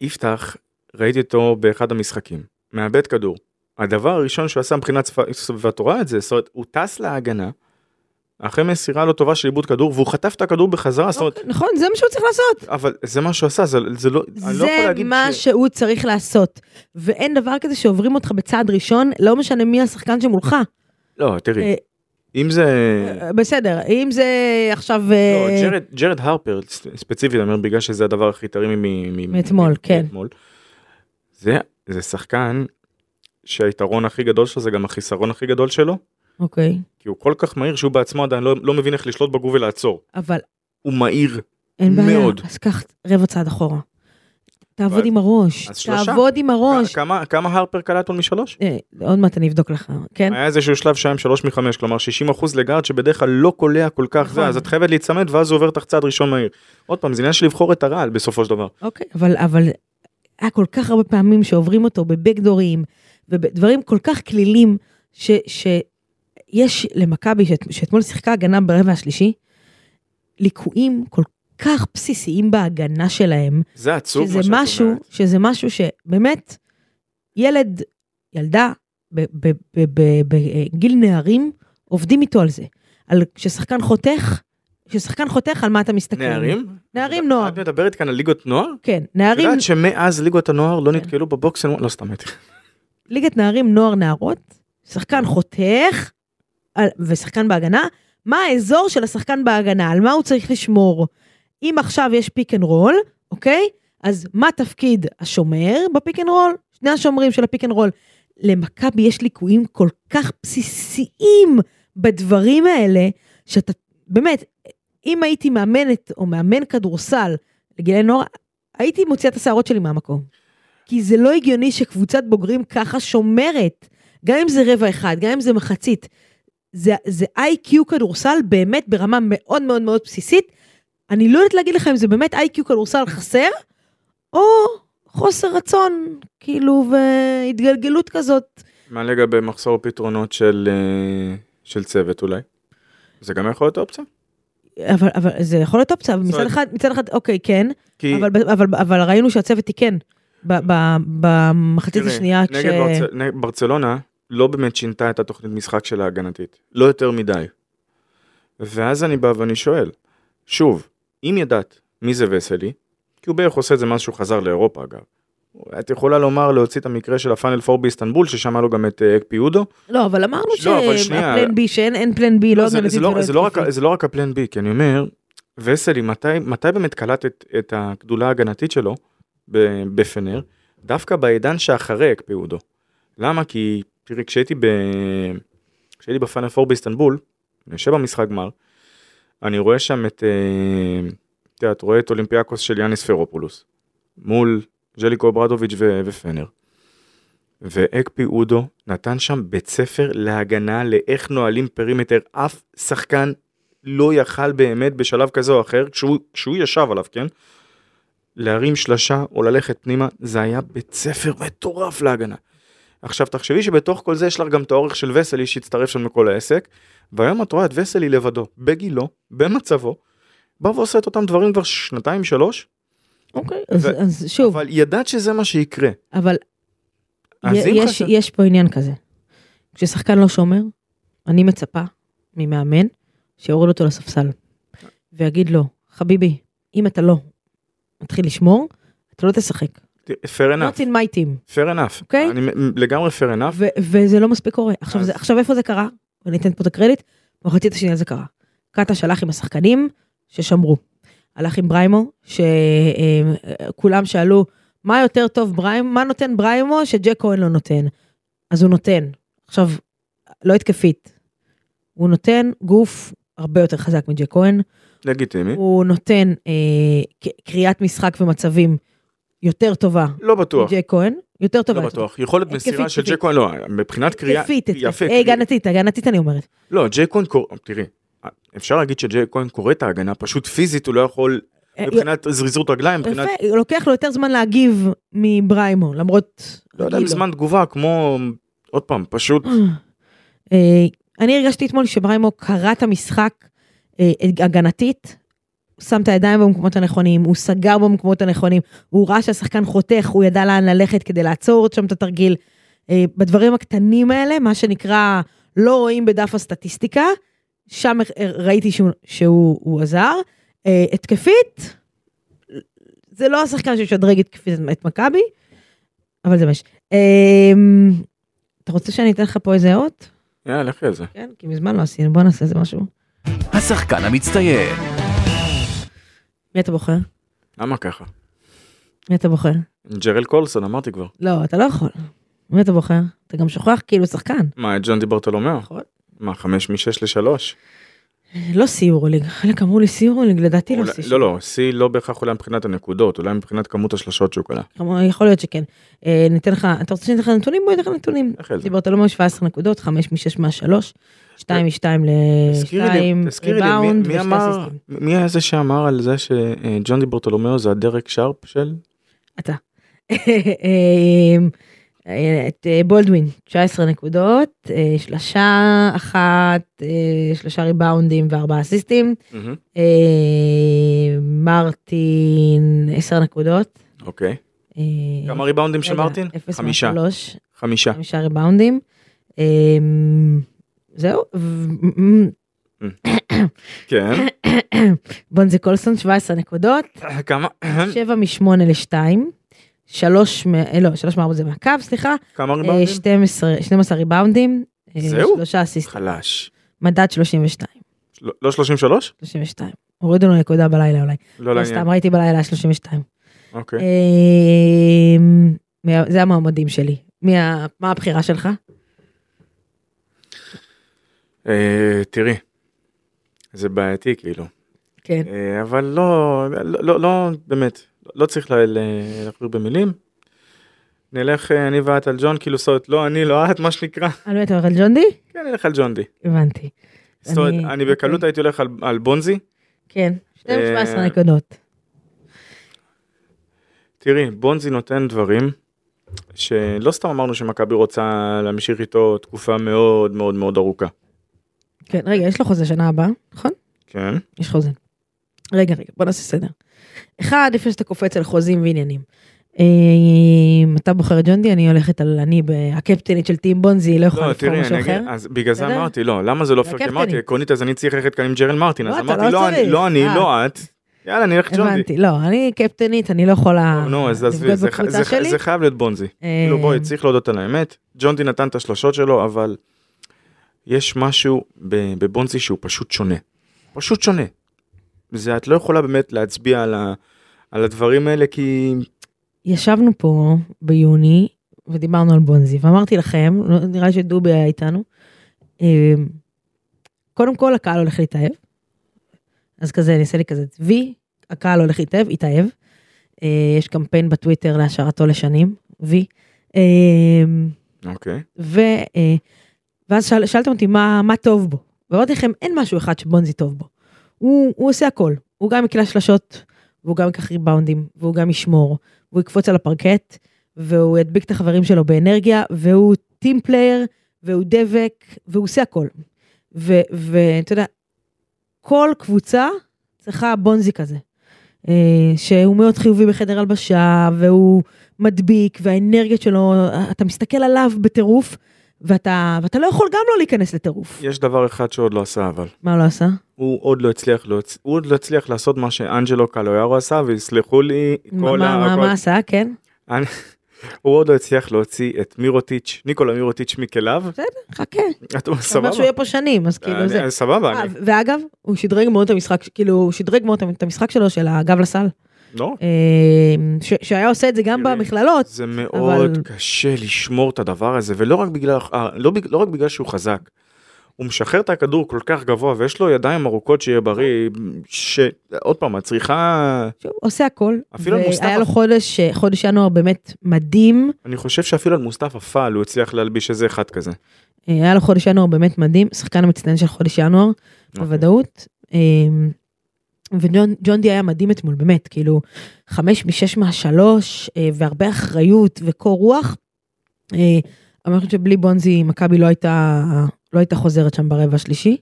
S3: יפתח, ראיתי אותו באחד המשחקים, מאבד כדור. הדבר הראשון שהוא עשה מבחינת צבא, והתורה את זה, זאת אומרת, הוא טס להגנה, אחרי מסירה לא טובה של עיבוד כדור, והוא חטף את הכדור בחזרה, זאת אומרת,
S2: אוקיי, נכון, זה מה שהוא צריך לעשות.
S3: אבל זה מה שהוא עשה, זה, זה לא, אני לא יכול
S2: זה
S3: להגיד
S2: מה
S3: ש...
S2: שהוא צריך לעשות. ואין דבר כזה שעוברים אותך בצעד ראשון, לא משנה מי השחקן שמולך.
S3: לא, תראי,
S2: אה,
S3: אם זה...
S2: אה, בסדר, אם זה עכשיו...
S3: כן. לא,
S2: אה,
S3: ג'רד, ג'רד הרפר, ס- ספציפית, אני אומר, בגלל שזה הדבר הכי טרי מ- מ-
S2: מאתמול, כן.
S3: מאתמול. זה, זה שחקן שהיתרון הכי גדול שלו זה גם החיסרון הכי גדול שלו,
S2: אוקיי.
S3: כי הוא כל כך מהיר שהוא בעצמו עדיין לא, לא מבין איך לשלוט בגוף ולעצור.
S2: אבל
S3: הוא מהיר.
S2: אין בעיה.
S3: מאוד.
S2: אז קח רבע צעד אחורה. תעבוד
S3: ואז-
S2: עם הראש.
S3: אז שלושה.
S2: תעבוד עם הראש.
S3: כמה, כמה הרפר קלט עול משלוש?
S2: אה, עוד מעט אני אבדוק לך, כן?
S3: היה איזשהו שלב שהיה עם שלוש מחמש, כלומר 60% לגארד שבדרך כלל לא קולע כל כך
S2: נכון.
S3: זה, אז את חייבת להיצמד ואז הוא עובר אותך צעד ראשון מהיר. עוד פעם, זה עניין של לבחור את הרעל בסופו של דבר.
S2: אוקיי, אבל, אבל היה כל כך הרבה פעמים שעוברים אותו בבקדורים ובדברים כל כך כלילים, ש, שיש למכבי, שאת, שאתמול שיחקה הגנה ברבע השלישי, ליקויים כל כך בסיסיים בהגנה שלהם,
S3: זה עצוב
S2: שזה
S3: מה שאת
S2: משהו,
S3: אומרת.
S2: שזה משהו שבאמת, ילד, ילדה, ב- ב- ב- ב- בגיל נערים, עובדים איתו על זה. על כששחקן חותך, כששחקן חותך, על מה אתה מסתכל?
S3: נערים?
S2: נערים, נוער.
S3: את מדברת כאן על ליגות נוער?
S2: כן,
S3: את
S2: נערים,
S3: יודעת שמאז ליגות הנוער לא
S2: כן.
S3: נתקלו בבוקס, לא סתם הייתי.
S2: ליגת נערים, נוער, נערות, שחקן חותך על- ושחקן בהגנה, מה האזור של השחקן בהגנה, על מה הוא צריך לשמור. אם עכשיו יש פיק אנד רול, אוקיי? אז מה תפקיד השומר בפיק אנד רול? שני השומרים של הפיק אנד רול. למכבי יש ליקויים כל כך בסיסיים בדברים האלה, שאתה, באמת, אם הייתי מאמנת או מאמן כדורסל לגילי נוער, הייתי מוציאה את השערות שלי מהמקום. כי זה לא הגיוני שקבוצת בוגרים ככה שומרת, גם אם זה רבע אחד, גם אם זה מחצית. זה, זה איי-קיו כדורסל באמת ברמה מאוד מאוד מאוד בסיסית. אני לא יודעת להגיד לך אם זה באמת איי-קיו כדורסל חסר, או חוסר רצון, כאילו, והתגלגלות כזאת.
S3: מה לגבי מחסור פתרונות של אה, של צוות אולי? זה גם יכול להיות אופציה?
S2: אבל, אבל זה יכול להיות אופציה, אבל מצד
S3: אומרת-
S2: אחד, מצד אחד, אוקיי, כן,
S3: כי
S2: אבל, אבל, אבל ראינו שהצוות תיקן ב- ב- במחצית
S3: תראי,
S2: השנייה, כש...
S3: נגד ברצל- נגד ברצלונה לא באמת שינתה את התוכנית משחק שלה ההגנתית, לא יותר מדי. ואז אני בא ואני שואל, שוב, אם ידעת מי זה וסלי, כי הוא בערך עושה את זה מאז שהוא חזר לאירופה אגב. את יכולה לומר להוציא את המקרה של הפאנל פור באיסטנבול ששם היה לו גם את אה, אקפי אודו.
S2: לא, אבל אמרנו
S3: לא, אבל שנייה.
S2: שהפלן בי, שאין אין פלן בי, לא
S3: זה-
S2: הגנתית
S3: זה לא-
S2: ולא
S3: זה לא רק-
S2: התקפית.
S3: זה לא רק הפלן בי, כי אני אומר, וסלי, מתי מתי באמת קלט את- את הגדולה ההגנתית שלו ב- בפנר? דווקא בעידן שאחרי אקפי אודו. למה? כי, תראי, כשהייתי ב... כשהייתי בפאנל פור באיסטנבול, אני יושב במשחק גמר, אני רואה שם את... אה, את יודעת, רואה את אולימפיאקוס של יאניס פרופולוס, מול ז'ליקו ברדוביץ' ו- ופנר. ואקפי אודו נתן שם בית ספר להגנה לאיך נועלים פרימטר, אף שחקן לא יכל באמת בשלב כזה או אחר, כשהוא, כשהוא ישב עליו, כן? להרים שלשה או ללכת פנימה, זה היה בית ספר מטורף להגנה. עכשיו תחשבי שבתוך כל זה יש לך גם את האורך של וסלי שהצטרף שם לכל העסק, והיום את רואה את וסלי לבדו, בגילו, במצבו, בא ועושה את אותם דברים כבר שנתיים שלוש,
S2: אוקיי, אז-
S3: ו-
S2: אז שוב,
S3: אבל ידעת שזה מה שיקרה.
S2: אבל
S3: אז
S2: י-
S3: אם
S2: יש-
S3: חשב-
S2: יש פה עניין כזה. כששחקן לא שומר, אני מצפה ממאמן שיוריד אותו לספסל ויגיד לו, חביבי, אם אתה לא מתחיל לשמור, אתה לא תשחק.
S3: fair
S2: Not
S3: enough.
S2: in my team,
S3: fair enough.
S2: אוקיי?
S3: אני מ- לגמרי fair enough.
S2: ו- וזה לא מספיק קורה. עכשיו
S3: אז-
S2: זה- עכשיו איפה זה קרה? אני אתן פה את הקרדיט, במחצית השנייה זה קרה. קאטה שלח עם השחקנים ששמרו. הלך עם בריימו, שכולם שאלו, מה יותר טוב בריימו, מה נותן בריימו שג'ק כהן לא נותן? אז הוא נותן. עכשיו, לא התקפית. הוא נותן גוף הרבה יותר חזק מג'ק כהן,
S3: לגיטימי.
S2: הוא נותן אה, ק- קריאת משחק ומצבים יותר טובה
S3: לא בטוח.
S2: מג'ק כהן, יותר טובה.
S3: לא בטוח. יכולת
S2: התקפית,
S3: מסירה של
S2: התקפית.
S3: ג'קון, לא, מבחינת קריאה.
S2: התקפית,
S3: יפה.
S2: התקפית,
S3: קריאה.
S2: הגנתית, הגנתית אני אומרת.
S3: לא, ג'קון קורא, תראי, אפשר להגיד שג'קון קורא את ההגנה, פשוט פיזית הוא לא יכול, מבחינת זריזות רגליים, מבחינת,
S2: אה, יפה, לוקח לו יותר זמן להגיב מבריימו, למרות...
S3: לא יודע אם
S2: רגיל לו.
S3: זמן תגובה, כמו, עוד פעם, פשוט,
S2: אה, אני הרגשתי אתמול שבריימו קרא את המשחק אה, הגנתית, הוא שם את הידיים במקומות הנכונים, הוא סגר במקומות הנכונים, הוא ראה שהשחקן חותך, הוא ידע לאן ללכת כדי לעצור שם את התרגיל. אה, בדברים הקטנים האלה, מה שנקרא, לא רואים בדף הסטטיסטיקה, שם ראיתי שהוא, שהוא הוא עזר. אה, התקפית, זה לא השחקן ששדרג התקפית את מכבי, אבל זה מה ש... אה, אתה רוצה שאני אתן לך פה איזה אות?
S3: יאללה, לכי על זה.
S2: כן, כי מזמן לא עשינו, בוא נעשה איזה משהו.
S1: השחקן המצטיין,
S2: מי אתה בוחר?
S3: למה ככה?
S2: מי אתה בוחר?
S3: ג'רל קולסון, אמרתי כבר.
S2: לא, אתה לא יכול. מי אתה בוחר? אתה גם שוכח כאילו שחקן.
S3: מה, את ג'ון דיברטולומיאו?
S2: נכון.
S3: מה, חמש משש לשלוש?
S2: לא סיורוליג, חלק אמרו לי סיורוליג, לדעתי לא
S3: אולי-
S2: סיורוליג.
S3: לא, לא, שיא לא בהכרח אולי מבחינת הנקודות, אולי מבחינת כמות השלשות שהוא קלע.
S2: כלומר, יכול להיות שכן. אה, ניתן לך, אתה רוצה שניתן לך נתונים? בוא ניתן לך נתונים.
S3: איך זה?
S2: דיברת לא מאוד 17 נקודות, 5 מ-6 מה-3, 2 מ-2
S3: תזכירי לי-
S2: ל-2,
S3: תזכירי לי, מי-
S2: ריבאונד
S3: מי
S2: ושתי
S3: אמר,
S2: אסיסטים.
S3: מי היה זה שאמר על זה שג'ון דיברטולומיאו זה הדרק שרפ של?
S2: אתה. אה, את אה, בולדווין, 19 נקודות, אה, שלשה אחת, אה, שלושה ריבאונדים וארבעה אסיסטים. אה, מרטין, 10 נקודות.
S3: אוקיי.
S2: אה,
S3: כמה ריבאונדים של
S2: רגע, אה,
S3: מרטין?
S2: אפס
S3: חמישה. אה.
S2: מהשלוש,
S3: חמישה.
S2: חמישה ריבאונדים. אמ, זהו. ו-
S3: כן.
S2: בונזי קולסון 17 נקודות,
S3: כמה?
S2: 7 מ-8 ל-2, 3 מ... אה, לא, 3 מ-4 זה מהקו, סליחה,
S3: כמה
S2: אה,
S3: ריבאונדים?
S2: 12 12 ריבאונדים, אה,
S3: זהו?
S2: שלושה אסיסטים,
S3: חלש.
S2: מדד 32,
S3: לא- לא 33?
S2: 32. הורידו לו נקודה בלילה אולי,
S3: לא
S2: לא
S3: לעניין.
S2: סתם אה, ראיתי בלילה 32.
S3: אוקיי.
S2: אמ, מה- זה המועמדים שלי. מי ה- מה הבחירה שלך?
S3: אה, תראי, זה בעייתי כאילו.
S2: כן.
S3: אה, אבל לא, לא, לא, לא באמת, לא צריך לה- לה- להכביר במילים. נלך אה, אני ואת על ג'ון כאילו סוד, לא אני, לא את, מה שנקרא.
S2: על מי אתה הולך על ג'ונדי?
S3: כן, נלך על ג'ון די.
S2: הבנתי.
S3: זאת אומרת,
S2: אני-
S3: אני בקלות
S2: אוקיי.
S3: הייתי הולך על- על בונזי.
S2: כן,
S3: אה,
S2: 17 נקודות.
S3: תראי, בונזי נותן דברים שלא סתם אמרנו שמכבי רוצה להמשיך איתו תקופה מאוד מאוד מאוד ארוכה.
S2: כן, רגע, יש לו חוזה שנה הבאה, נכון?
S3: כן.
S2: יש חוזה. רגע, רגע, בוא נעשה סדר. אחד, לפני שאתה קופץ על חוזים ועניינים. אה, אתה בוחר את ג'ונדי, אני הולכת על אני הקפטנית של טים בונזי, לא יכולה
S3: לא,
S2: לבחור
S3: תראי,
S2: משהו
S3: אני אגיד,
S2: אחר.
S3: אז בגלל זה
S2: בסדר?
S3: אמרתי, לא, למה זה לא פייר? כי
S2: לקפטנית.
S3: אמרתי, עקרונית, אז אני צריך ללכת כאן עם ג'רל מרטין,
S2: לא,
S3: אז
S2: אתה
S3: אמרתי,
S2: לא
S3: לא אני,
S2: צריך.
S3: לא אני,
S2: אה.
S3: לא את. יאללה, נלך ג'ון די.
S2: הבנתי, לא, אני קפטנית, אני לא יכולה
S3: אה, נו, אז עזבי,
S2: לבגוד
S3: זה ח-
S2: בקבוצה
S3: זה ח-
S2: שלי.
S3: זה חייב להיות בונזי.
S2: אה,
S3: כאילו בואי, צריך להודות על האמת, ג'ונדי נתן את השלשות שלו, אבל יש משהו ב- בבונזי שהוא פשוט שונה. פשוט שונה. זה את לא יכולה באמת להצביע על, ה, על הדברים האלה כי
S2: ישבנו פה ביוני ודיברנו על בונזי ואמרתי לכם לא- נראה לי שדובי היה איתנו. אה, קודם כל הקהל הולך להתאהב. אז כזה אני אעשה לי כזה וי הקהל הולך להתאהב התאהב. אה, יש קמפיין בטוויטר להשארתו לשנים וי. אה,
S3: אוקיי.
S2: ו, אה, ואז שאל, שאלתם אותי מה, מה טוב בו. ואמרתי לכם אין משהו אחד שבונזי טוב בו. הוא, הוא עושה הכל. הוא גם יקלע שלשות, והוא גם ייקח ריבאונדים, והוא גם ישמור, והוא יקפוץ על הפרקט, והוא ידביק את החברים שלו באנרגיה, והוא טים פלייר, והוא דבק, והוא עושה הכל. ו- ואתה יודע, כל קבוצה צריכה בונזי כזה. אה, שהוא מאוד חיובי בחדר הלבשה, והוא מדביק, והאנרגיות שלו, אתה מסתכל עליו בטירוף, ואתה, ואתה לא יכול גם לא להיכנס לטירוף.
S3: יש דבר אחד שעוד לא עשה אבל.
S2: מה הוא לא עשה?
S3: הוא עוד לא הצליח, להוצ- הוא עוד לא הצליח לעשות מה שאנג'לו קלויארו עשה ויסלחו לי
S2: מה,
S3: כל
S2: מה,
S3: ה...
S2: מה,
S3: כל-
S2: מה עשה? כן.
S3: הוא עוד לא הצליח להוציא את מירוטיץ', ניקולה מירוטיץ' מכליו.
S2: חכה,
S3: את
S2: אתה
S3: סבבה.
S2: אומר שהוא יהיה פה שנים, אז כאילו
S3: אני-
S2: זה.
S3: סבבה,
S2: אה,
S3: אני-
S2: ואגב, הוא שדרג מאוד את המשחק, כאילו, הוא שדרג מאוד את המשחק שלו, של הגב לסל.
S3: לא.
S2: אה, ש- שהיה עושה את זה גם
S3: תראי,
S2: במכללות.
S3: זה מאוד
S2: אבל-
S3: אבל... קשה לשמור את הדבר הזה, ולא רק בגלל, אה, לא, בג- לא רק בגלל שהוא חזק. הוא משחרר את הכדור כל כך גבוה, ויש לו ידיים ארוכות שיהיה בריא, שעוד פעם, את צריכה...
S2: שהוא עושה הכל.
S3: אפילו על מוסטפא.
S2: והיה לו חודש, אה, חודש ינואר באמת מדהים.
S3: אני חושב שאפילו על מוסטפא פעל הוא הצליח להלביש איזה אחד כזה.
S2: אה, היה לו חודש ינואר באמת מדהים, שחקן המצטיין של חודש ינואר,
S3: אוקיי.
S2: בוודאות. אה, וג'ון ג'ון די היה מדהים אתמול, באמת, כאילו, חמש משש מהשלוש, אה, והרבה אחריות וקור רוח. אה, אבל אני חושבת שבלי בונזי, מכבי לא הייתה, לא הייתה חוזרת שם ברבע השלישי.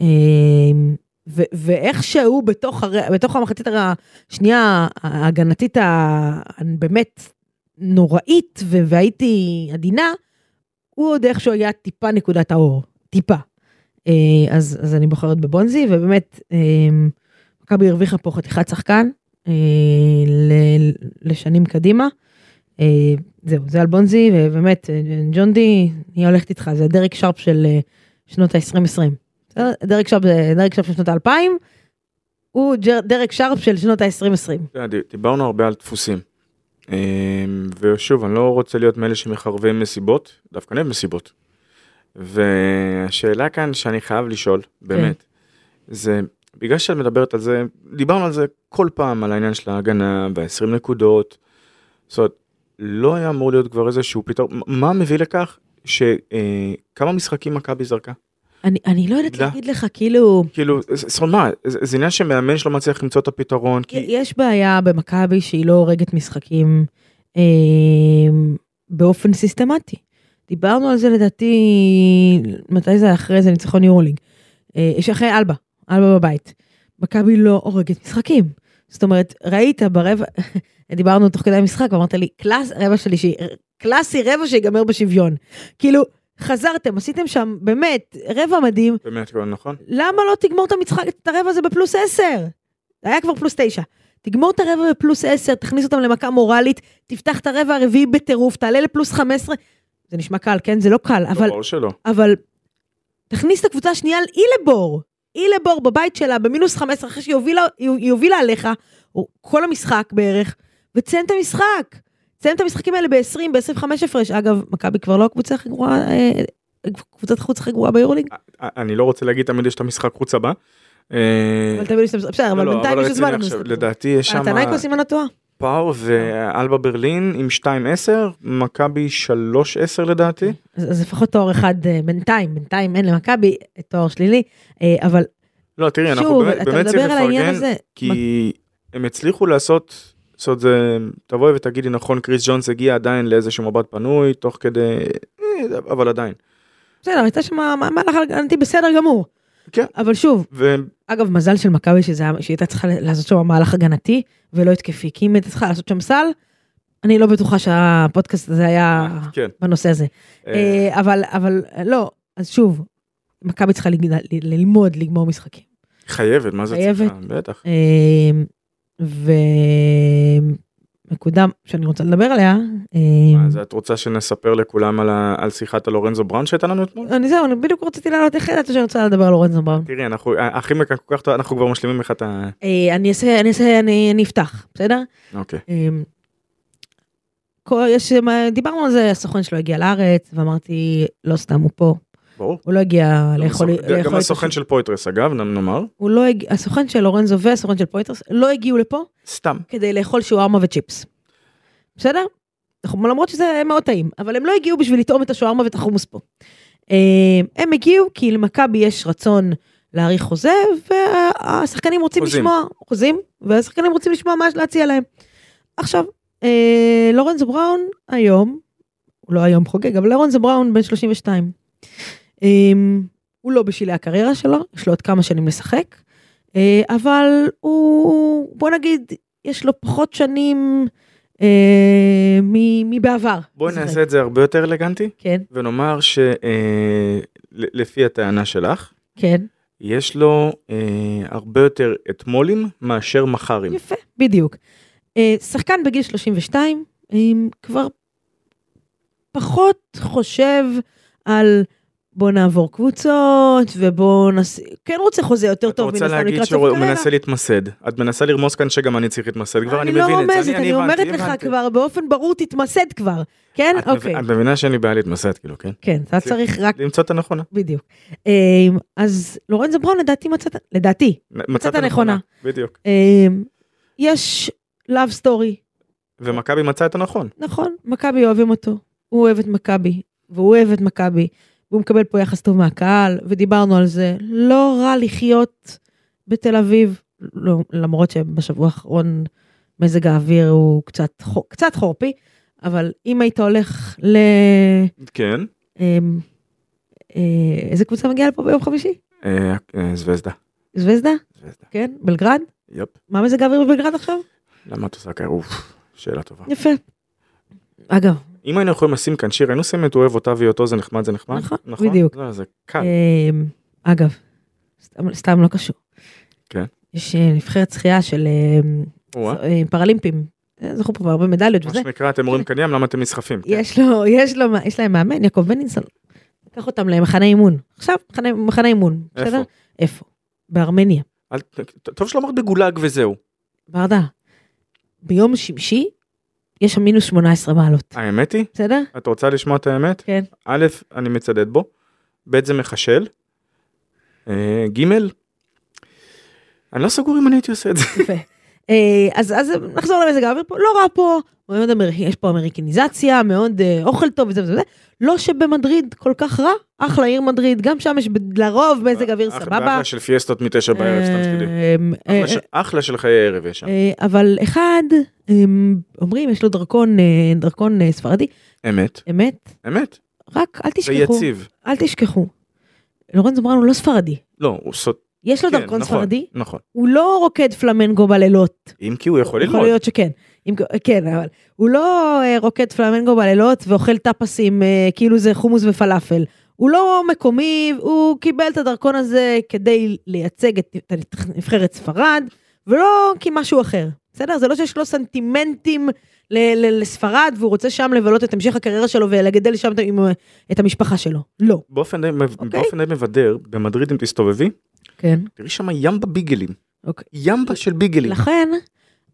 S2: אה, ו- ואיכשהו בתוך, הר... בתוך המחצית השנייה ההגנתית הבאמת נוראית, ו- והייתי עדינה, הוא עוד איכשהו היה טיפה נקודת האור, טיפה. אה, אז, אז אני בוחרת בבונזי, ובאמת, אה, מכבי הרוויחה פה חתיכת שחקן אה, ל, לשנים קדימה. אה, זהו, זה על בונזי, ובאמת, אה, ג'ון די, אני הולכת איתך, זה דרק שרפ של אה, שנות ה-2020. דרק שרפ זה דרק שרפ של שנות ה-2000, הוא ג'ר- דרק שרפ של שנות ה-2020.
S3: אתה יודע, דיברנו הרבה על דפוסים. אמ, ושוב, אני לא רוצה להיות מאלה שמחרבים מסיבות, דווקא אני אוהב מסיבות. והשאלה כאן שאני חייב לשאול, באמת, זה בגלל שאת מדברת על זה, דיברנו על זה כל פעם, על העניין של ההגנה וה-20 נקודות. זאת אומרת, לא היה אמור להיות כבר איזשהו פתרון, מה מביא לכך שכמה משחקים מכבי זרקה?
S2: אני, אני לא יודעת
S3: דה.
S2: להגיד לך, כאילו,
S3: כאילו, זאת אומרת, מה, זה זה עניין שמאמן שלא מצליח למצוא את הפתרון,
S2: כי...
S3: נכון? כי...
S2: יש בעיה במכבי שהיא לא הורגת משחקים אה, באופן סיסטמטי. דיברנו על זה לדעתי, מתי זה היה אחרי זה ניצחון יורלינג. אה, שאחרי אלבה, אלבה בבית. מכבי לא הורגת משחקים. זאת אומרת, ראית ברבע, דיברנו תוך כדי המשחק, ואמרת לי, קלאס, רבע שלישי, אה, קלאסי רבע שיגמר בשוויון. כאילו, חזרתם, עשיתם שם באמת רבע מדהים,
S3: באמת, נכון?
S2: למה לא תגמור את המשחק, את הרבע הזה בפלוס 10? היה כבר פלוס 9. תגמור את הרבע בפלוס 10, תכניס אותם למכה מורלית, תפתח את הרבע הרביעי בטירוף, תעלה לפלוס 15. זה נשמע קל, כן? זה לא קל, אבל,
S3: לא, ברור שלא.
S2: אבל תכניס את הקבוצה השנייה, על- היא לבור. היא לבור בבית שלה, במינוס 15, אחרי שהיא הובילה, היא- היא הובילה עליך, או כל המשחק בערך, ותסיים את המשחק. תסיים את המשחקים האלה ב-20, ב-25 הפרש. אגב, מכבי כבר לא הקבוצה הכי גרועה, אה, קבוצת החוץ הכי גרועה ביורלינג.
S3: אני לא רוצה להגיד תמיד יש את המשחק חוץ הבא. אה,
S2: אבל תמיד יש להם... בסדר, אבל
S3: לא, לא,
S2: בינתיים יש
S3: רציני
S2: זמן
S3: עכשיו,
S2: לנו.
S3: לדעתי יש שם
S2: פנתנייקוס אם אני לא טועה.
S3: פאו ואלבה ברלין עם 2-10, מכבי 3-10 לדעתי.
S2: אז אז לפחות תואר אחד אה, בינתיים, בינתיים אין למכבי אה, תואר שלילי, אה, אבל
S3: לא, תראי, אנחנו
S2: שוב,
S3: באמת
S2: אתה
S3: באמת צריך
S2: מדבר על העניין
S3: לפרגן,
S2: הזה.
S3: כי הם הצליחו לעשות, זאת אומרת, זה- תבואי ותגידי נכון, קריס ג'ונס הגיע עדיין לאיזשהו מבט פנוי, תוך כדי, אה, אבל עדיין.
S2: בסדר, הייתה שם מה- מהלך הגנתי בסדר גמור.
S3: כן.
S2: אבל שוב,
S3: ואני
S2: אגב, מזל של מכבי שזה היה- שהיא הייתה צריכה לעשות שם מהלך הגנתי ולא התקפי, כי אם הייתה צריכה לעשות שם סל, אני לא בטוחה שהפודקאסט הזה היה
S3: כן.
S2: בנושא הזה.
S3: אה,
S2: אה, אבל, אבל אה, לא, אז שוב, מכבי צריכה לגדל- ל- ללמוד לגמור משחקים.
S3: חייבת, מה זה
S2: חייבת.
S3: צריכה? בטח.
S2: אמ, ונקודה שאני רוצה לדבר עליה, אה,
S3: מה, אז את רוצה שנספר לכולם על ה- על שיחת הלורנזו בראון שהייתה לנו אתמול?
S2: אני זהו, אני בדיוק רציתי לעלות איך ידעת שאני רוצה לדבר על לורנזו בראון.
S3: תראי, אנחנו, אה, האחים כאן כל כך טוב, אנחנו כבר משלימים לך את ה...
S2: אה, אני אעשה, אני אעשה, אני אני אפתח, בסדר?
S3: אוקיי.
S2: אה, כל- יש, מה- דיברנו על זה, הסוכן שלו הגיע לארץ, ואמרתי, לא סתם הוא פה,
S3: ברור.
S2: הוא לא הגיע לאכול...
S3: גם הסוכ-
S2: לאכול
S3: גם
S2: את
S3: הסוכן
S2: השוק.
S3: של פויטרס אגב, נ- נאמר.
S2: הוא לא הגיע, הסוכן של לורנזו והסוכן של פויטרס לא הגיעו לפה
S3: סתם.
S2: כדי לאכול שוארמה וצ'יפס. בסדר? אנחנו- למרות שזה מאוד טעים, אבל הם לא הגיעו בשביל לטעום את השוארמה ואת החומוס פה. אה, הם הגיעו כי למכבי יש רצון להאריך חוזה, והשחקנים רוצים
S3: חוזים.
S2: לשמוע, חוזים, והשחקנים רוצים לשמוע מה יש להציע להם. עכשיו, אה, לורנזו בראון היום, הוא לא היום חוגג, אבל לורנזו בראון בן 32. אה, הוא לא בשלהי הקריירה שלו, יש לו עוד כמה שנים לשחק, אה, אבל הוא, בוא נגיד, יש לו פחות שנים אה, מ- מבעבר.
S3: בואי
S2: לשחק.
S3: נעשה את זה הרבה יותר אלגנטי,
S2: כן,
S3: ונאמר שלפי הטענה שלך,
S2: כן,
S3: יש לו אה, הרבה יותר אתמולים מאשר מחרים.
S2: יפה, בדיוק. אה, שחקן בגיל 32, עם כבר פחות חושב על בוא נעבור קבוצות ובוא נס... כן רוצה חוזה יותר
S3: את
S2: טוב מן
S3: רוצה
S2: הסתם
S3: להגיד
S2: לקראת סוף
S3: שהוא
S2: הקריירה.
S3: מנסה להתמסד. את מנסה לרמוז כאן שגם אני צריך להתמסד כבר, אני
S2: לא
S3: מבין את זה.
S2: רומזת, אני, אומרת
S3: הבנתי,
S2: לך
S3: הבנתי.
S2: כבר באופן ברור תתמסד כבר, כן?
S3: את מב-
S2: אוקיי,
S3: את מבינה שאין לי בעיה להתמסד, כאילו, כן?
S2: כן, אתה
S3: זה-
S2: צריך רק,
S3: למצוא את הנכונה.
S2: בדיוק. אה, אז לורנזו בראון לדעתי מצאת, לדעתי,
S3: מצאת
S2: הנכונה.
S3: בדיוק.
S2: אה, יש לאב סטורי
S3: ומכבי מצאה את הנכון.
S2: נכון, מכבי אוהבים אותו. הוא אוהב את מכבי, והוא אוהב את מכבי, והוא מקבל פה יחס טוב מהקהל, ודיברנו על זה. לא רע לחיות בתל אביב, לא, למרות שבשבוע האחרון מזג האוויר הוא קצת, חו- קצת חורפי, אבל אם היית הולך ל...
S3: כן.
S2: אמ, אה, איזה קבוצה מגיעה לפה ביום חמישי?
S3: אה, אה, זבזדה.
S2: זווזדה?
S3: זבזדה.
S2: כן? בלגרד?
S3: יופ.
S2: מה מזג האוויר בבלגרד עכשיו?
S3: למה את עושה כאלה? אוף, שאלה טובה.
S2: יפה. אגב,
S3: אם היינו יכולים לשים כאן שיר, היינו שמים את אוהב אותה והיותו נכון? זה נחמד זה נחמד?
S2: נכון, בדיוק.
S3: לא, זה קל.
S2: אמ, אגב, סתם, סתם לא קשור.
S3: כן.
S2: יש אה, נבחרת שחייה של אה,
S3: או-אה.
S2: אה, פרלימפים, אה, זכו פה בהרבה מדליות
S3: מה
S2: וזה.
S3: שנקרא, אתם רואים כאן ים, למה אתם נסחפים? כן.
S2: יש לו, יש לו, יש להם מאמן, יעקב בנינסון. לקח אותם למחנה אימון. עכשיו, מחנה- מחנה אימון.
S3: כן. איפה?
S2: בסדר? איפה? בארמניה.
S3: אל- ט- טוב שלא אמרת בגולג וזהו.
S2: ברדה. ביום שמשי, יש שם מינוס 18 מעלות.
S3: האמת היא,
S2: בסדר?
S3: את רוצה לשמוע את האמת?
S2: כן.
S3: א', אני מצדד בו, ב', זה מחשל, אה, ג', אני לא סגור אם אני הייתי עושה את זה.
S2: יפה. אה, אז, אז נחזור למזג האוויר פה, לא רע פה, מאוד אמר... יש פה אמריקניזציה, מאוד אה, אוכל טוב וזה וזה וזה. לא שבמדריד כל כך רע, אחלה עיר מדריד, גם שם יש ב- לרוב מזג אוויר
S3: אחלה-
S2: סבבה.
S3: אחלה של פיאסטות מתשע בערב, סתם שתדעי.
S2: אמ, אה,
S3: אחלה כן. של- אחלה של חיי ערב יש שם.
S2: אה, אבל אחד, אמ, אומרים, יש לו דרכון, אה, דרכון אה, ספרדי,
S3: אמת,
S2: אמת,
S3: אמת,
S2: רק אל
S3: זה
S2: תשכחו,
S3: יציב.
S2: אל תשכחו. לורן זמרן הוא לא ספרדי,
S3: לא, הוא סוט...
S2: יש לו
S3: כן,
S2: דרכון
S3: נכון,
S2: ספרדי,
S3: נכון.
S2: הוא לא רוקד פלמנגו בלילות.
S3: אם כי הוא יכול
S2: יכול
S3: ללמוד.
S2: להיות שכן. אם, כן, אבל הוא לא אה, רוקד פלמנגו בלילות ואוכל טאפסים אה, כאילו זה חומוס ופלאפל. הוא לא מקומי, הוא קיבל את הדרכון הזה כדי לייצג את, את נבחרת ספרד, ולא כמשהו אחר. בסדר? זה לא שיש לו סנטימנטים ל, ל, לספרד והוא רוצה שם לבלות את המשך הקריירה שלו ולגדל שם את, עם, אה, את המשפחה שלו. לא.
S3: באופן די מב-
S2: אוקיי.
S3: באופן די מבדר, במדריד אם תסתובבי,
S2: כן.
S3: תראי שם ימבה ביגלים.
S2: אוקיי.
S3: ימבה של ביגלים.
S2: לכן,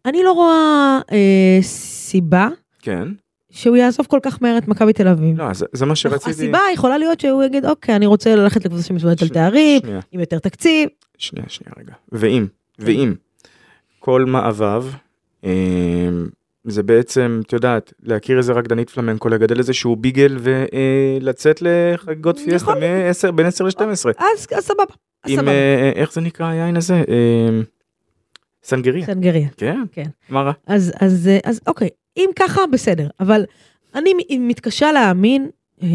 S2: אני לא רואה אה, סיבה
S3: כן.
S2: שהוא יעזוב כל כך מהר את מכבי תל אביב.
S3: לא, זה- זה מה שרציתי...
S2: הסיבה יכולה להיות שהוא יגיד, אוקיי, אני רוצה ללכת לקבוצה שמתמודדת על תארים,
S3: שנייה.
S2: עם יותר תקציב.
S3: שנייה, שנייה, רגע. ואם, ואם, כל מאביו, אה, זה בעצם, את יודעת, להכיר איזה רקדנית פלמנקו, לגדל איזשהו ביגל ולצאת לחגיגות
S2: יכול
S3: פיאסטה מ-10, בין 10 ל-12.
S2: אז אז סבבה, אז
S3: עם,
S2: סבבה.
S3: אה, איך זה נקרא היין הזה? אה, סנגריה.
S2: סנגריה.
S3: כן?
S2: כן.
S3: מה רע?
S2: אז אז אה, אז אוקיי, אם ככה, בסדר. אבל אני מ- מתקשה להאמין אה,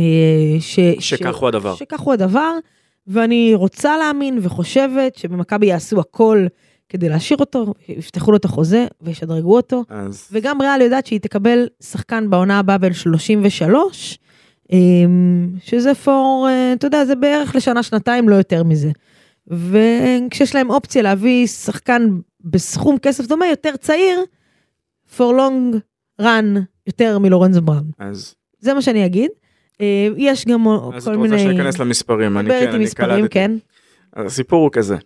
S2: ש...
S3: שכך
S2: ש-
S3: הוא הדבר.
S2: שכך הוא הדבר, ואני רוצה להאמין וחושבת שבמכבי יעשו הכל כדי להשאיר אותו, יפתחו לו את החוזה וישדרגו אותו.
S3: אז
S2: וגם ריאל יודעת שהיא תקבל שחקן בעונה הבאה בין 33, אמ, שזה פור, אה, אתה יודע, זה בערך לשנה-שנתיים, לא יותר מזה. וכשיש להם אופציה להביא שחקן בסכום כסף דומה, יותר צעיר, for long run יותר מלורנזו בראון.
S3: אז
S2: זה מה שאני אגיד. אה, יש גם
S3: אז
S2: כל
S3: את
S2: מיני...
S3: רוצה שאכנס למספרים, אני
S2: דבר
S3: כן,
S2: איתי
S3: אני
S2: מספרים,
S3: קלטתי.
S2: כן.
S3: אז הסיפור הוא כזה,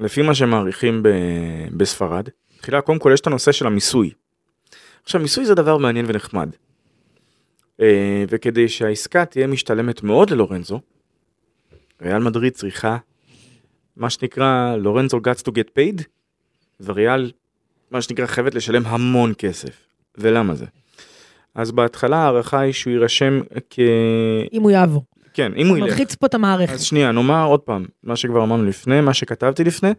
S3: לפי מה שמעריכים ב... בספרד, תחילה קודם כל יש את הנושא של המיסוי. עכשיו מיסוי זה דבר מעניין ונחמד. אה, וכדי שהעסקה תהיה משתלמת מאוד ללורנזו, ריאל מדריד צריכה מה שנקרא לורנזו gets to get paid, וריאל מה שנקרא חייבת לשלם המון כסף. ולמה זה? אז בהתחלה ההערכה היא שהוא יירשם כ...
S2: אם הוא יעבור.
S3: כן, אם הוא ילך.
S2: מלחיץ פה את המערכת.
S3: אז שנייה, נאמר עוד פעם, מה שכבר אמרנו לפני, מה שכתבתי לפני,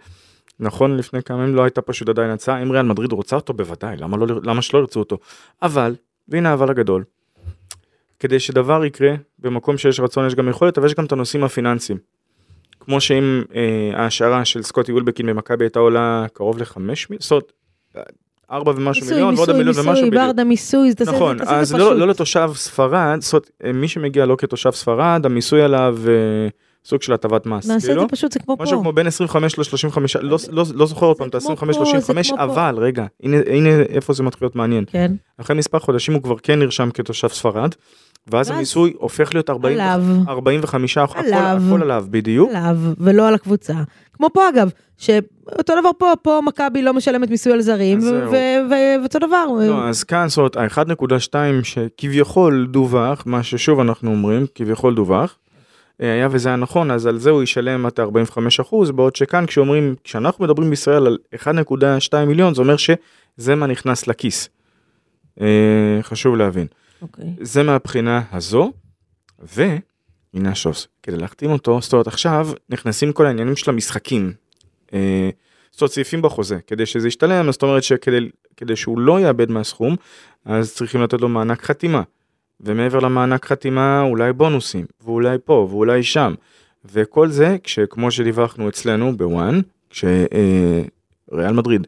S3: נכון, לפני כמה ימים לא הייתה פשוט עדיין הצעה, אם ריאל מדריד רוצה אותו, בוודאי, למה, לא, למה שלא ירצו אותו? אבל, והנה האבל הגדול, כדי שדבר יקרה, במקום שיש רצון יש גם יכולת, אבל יש גם את הנושאים הפיננסיים. כמו שאם אה, ההשערה של סקוטי אולבקין במכבי הייתה עולה קרוב לחמש מיליון, זאת אומרת, ארבע ומשהו
S2: מיסוי,
S3: מיליון, ועוד
S2: מיסוי,
S3: מיליון ומשהו
S2: מיסוי,
S3: בדיוק.
S2: ברדה מיסוי, תעשה את זה
S3: נכון,
S2: תעשה את זה
S3: אז לא,
S2: פשוט.
S3: לא לתושב ספרד, זאת אומרת, מי שמגיע לא כתושב ספרד, המיסוי עליו אה, סוג של הטבת מס.
S2: נעשה את
S3: כאילו.
S2: זה פשוט, זה כמו פה.
S3: משהו כמו בין 25 ל-35, לא, לא, לא זוכר עוד
S2: זה
S3: פעם את
S2: כמו
S3: ה-25
S2: פה, זה
S3: 35,
S2: כמו פה.
S3: אבל רגע, הנה, הנה איפה זה מתחיל להיות מעניין.
S2: כן.
S3: אחרי מספר חודשים הוא כבר כן נרשם כתושב ספרד, ואז
S2: ואז-
S3: המיסוי הופך להיות 40,
S2: עליו.
S3: 45, הכל,
S2: עליו.
S3: הכל עליו בדיוק.
S2: עליו ולא על הקבוצה. כמו פה אגב, שאותו דבר פה, פה מכבי לא משלמת מיסוי על זרים,
S3: אז
S2: ו-
S3: זהו.
S2: ו- ו- ואותו דבר.
S3: לא, אז כאן זאת אומרת, ה-1.2 שכביכול דווח, מה ששוב אנחנו אומרים, כביכול דווח, אה, היה וזה היה נכון, אז על זה הוא ישלם עד 45 אחוז, בעוד שכאן כשאומרים, כשאנחנו מדברים בישראל על 1.2 מיליון, זה אומר שזה מה נכנס לכיס. אה, חשוב להבין.
S2: אוקיי.
S3: זה מהבחינה הזו, והנה השוס, כדי להחתים אותו, זאת אומרת עכשיו נכנסים כל העניינים של המשחקים. אה, זאת אומרת סעיפים בחוזה, כדי שזה ישתלם, אז זאת אומרת שכדי כדי שהוא לא יאבד מהסכום, אז צריכים לתת לו מענק חתימה. ומעבר למענק חתימה אולי בונוסים, ואולי פה, ואולי שם. וכל זה כשכמו שדיווחנו אצלנו בוואן, כשריאל מדריד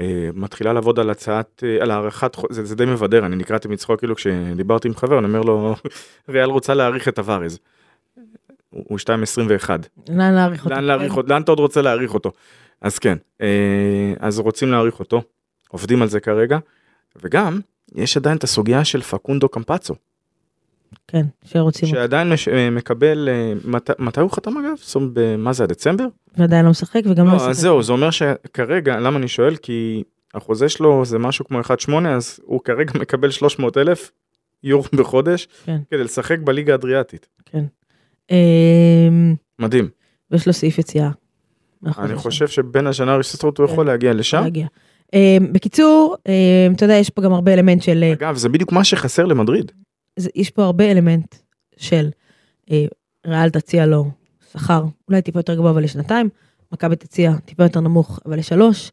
S3: אה, מתחילה לעבוד על הצעת, אה, על הארכת, חו- זה, זה די מבדר, אני נקרעתי מצחוק כאילו כשדיברתי עם חבר, אני אומר לו, ריאל רוצה להאריך את הווארז. הוא הוא 2.21.
S2: לאן להעריך אותו?
S3: לאן להעריך אותו? לאן אתה עוד רוצה להעריך אותו? אז כן, אה, אז רוצים להעריך אותו, עובדים על זה כרגע, וגם יש עדיין את הסוגיה של פקונדו קמפצו,
S2: כן, שרוצים אותו.
S3: שעדיין מש, אה, מקבל, אה, מת, מתי הוא חתם אגב? זאת אומרת, במה זה, דצמבר?
S2: ועדיין לא משחק וגם לא
S3: לא, אז
S2: משחק.
S3: זהו, זה אומר שכרגע, למה אני שואל? כי החוזה שלו זה משהו כמו 1.8, אז הוא כרגע מקבל 300 אלף יורו בחודש,
S2: כן.
S3: כדי לשחק בליגה האדריאטית.
S2: כן. אמ,
S3: מדהים.
S2: ויש לו סעיף יציאה. מהחוזה
S3: אני
S2: שלו.
S3: חושב שבין השנה הראשונה הוא
S2: נכון, כן.
S3: יכול להגיע לשם.
S2: להגיע. אמ, בקיצור, אמ, אתה יודע, יש פה גם הרבה אלמנט של... אה,
S3: אגב, זה בדיוק מה שחסר למדריד.
S2: זה- יש פה הרבה אלמנט של אה, ריאל תציע לו שכר אולי טיפה יותר גבוה אבל לשנתיים, מכבי תציע טיפה יותר נמוך אבל לשלוש,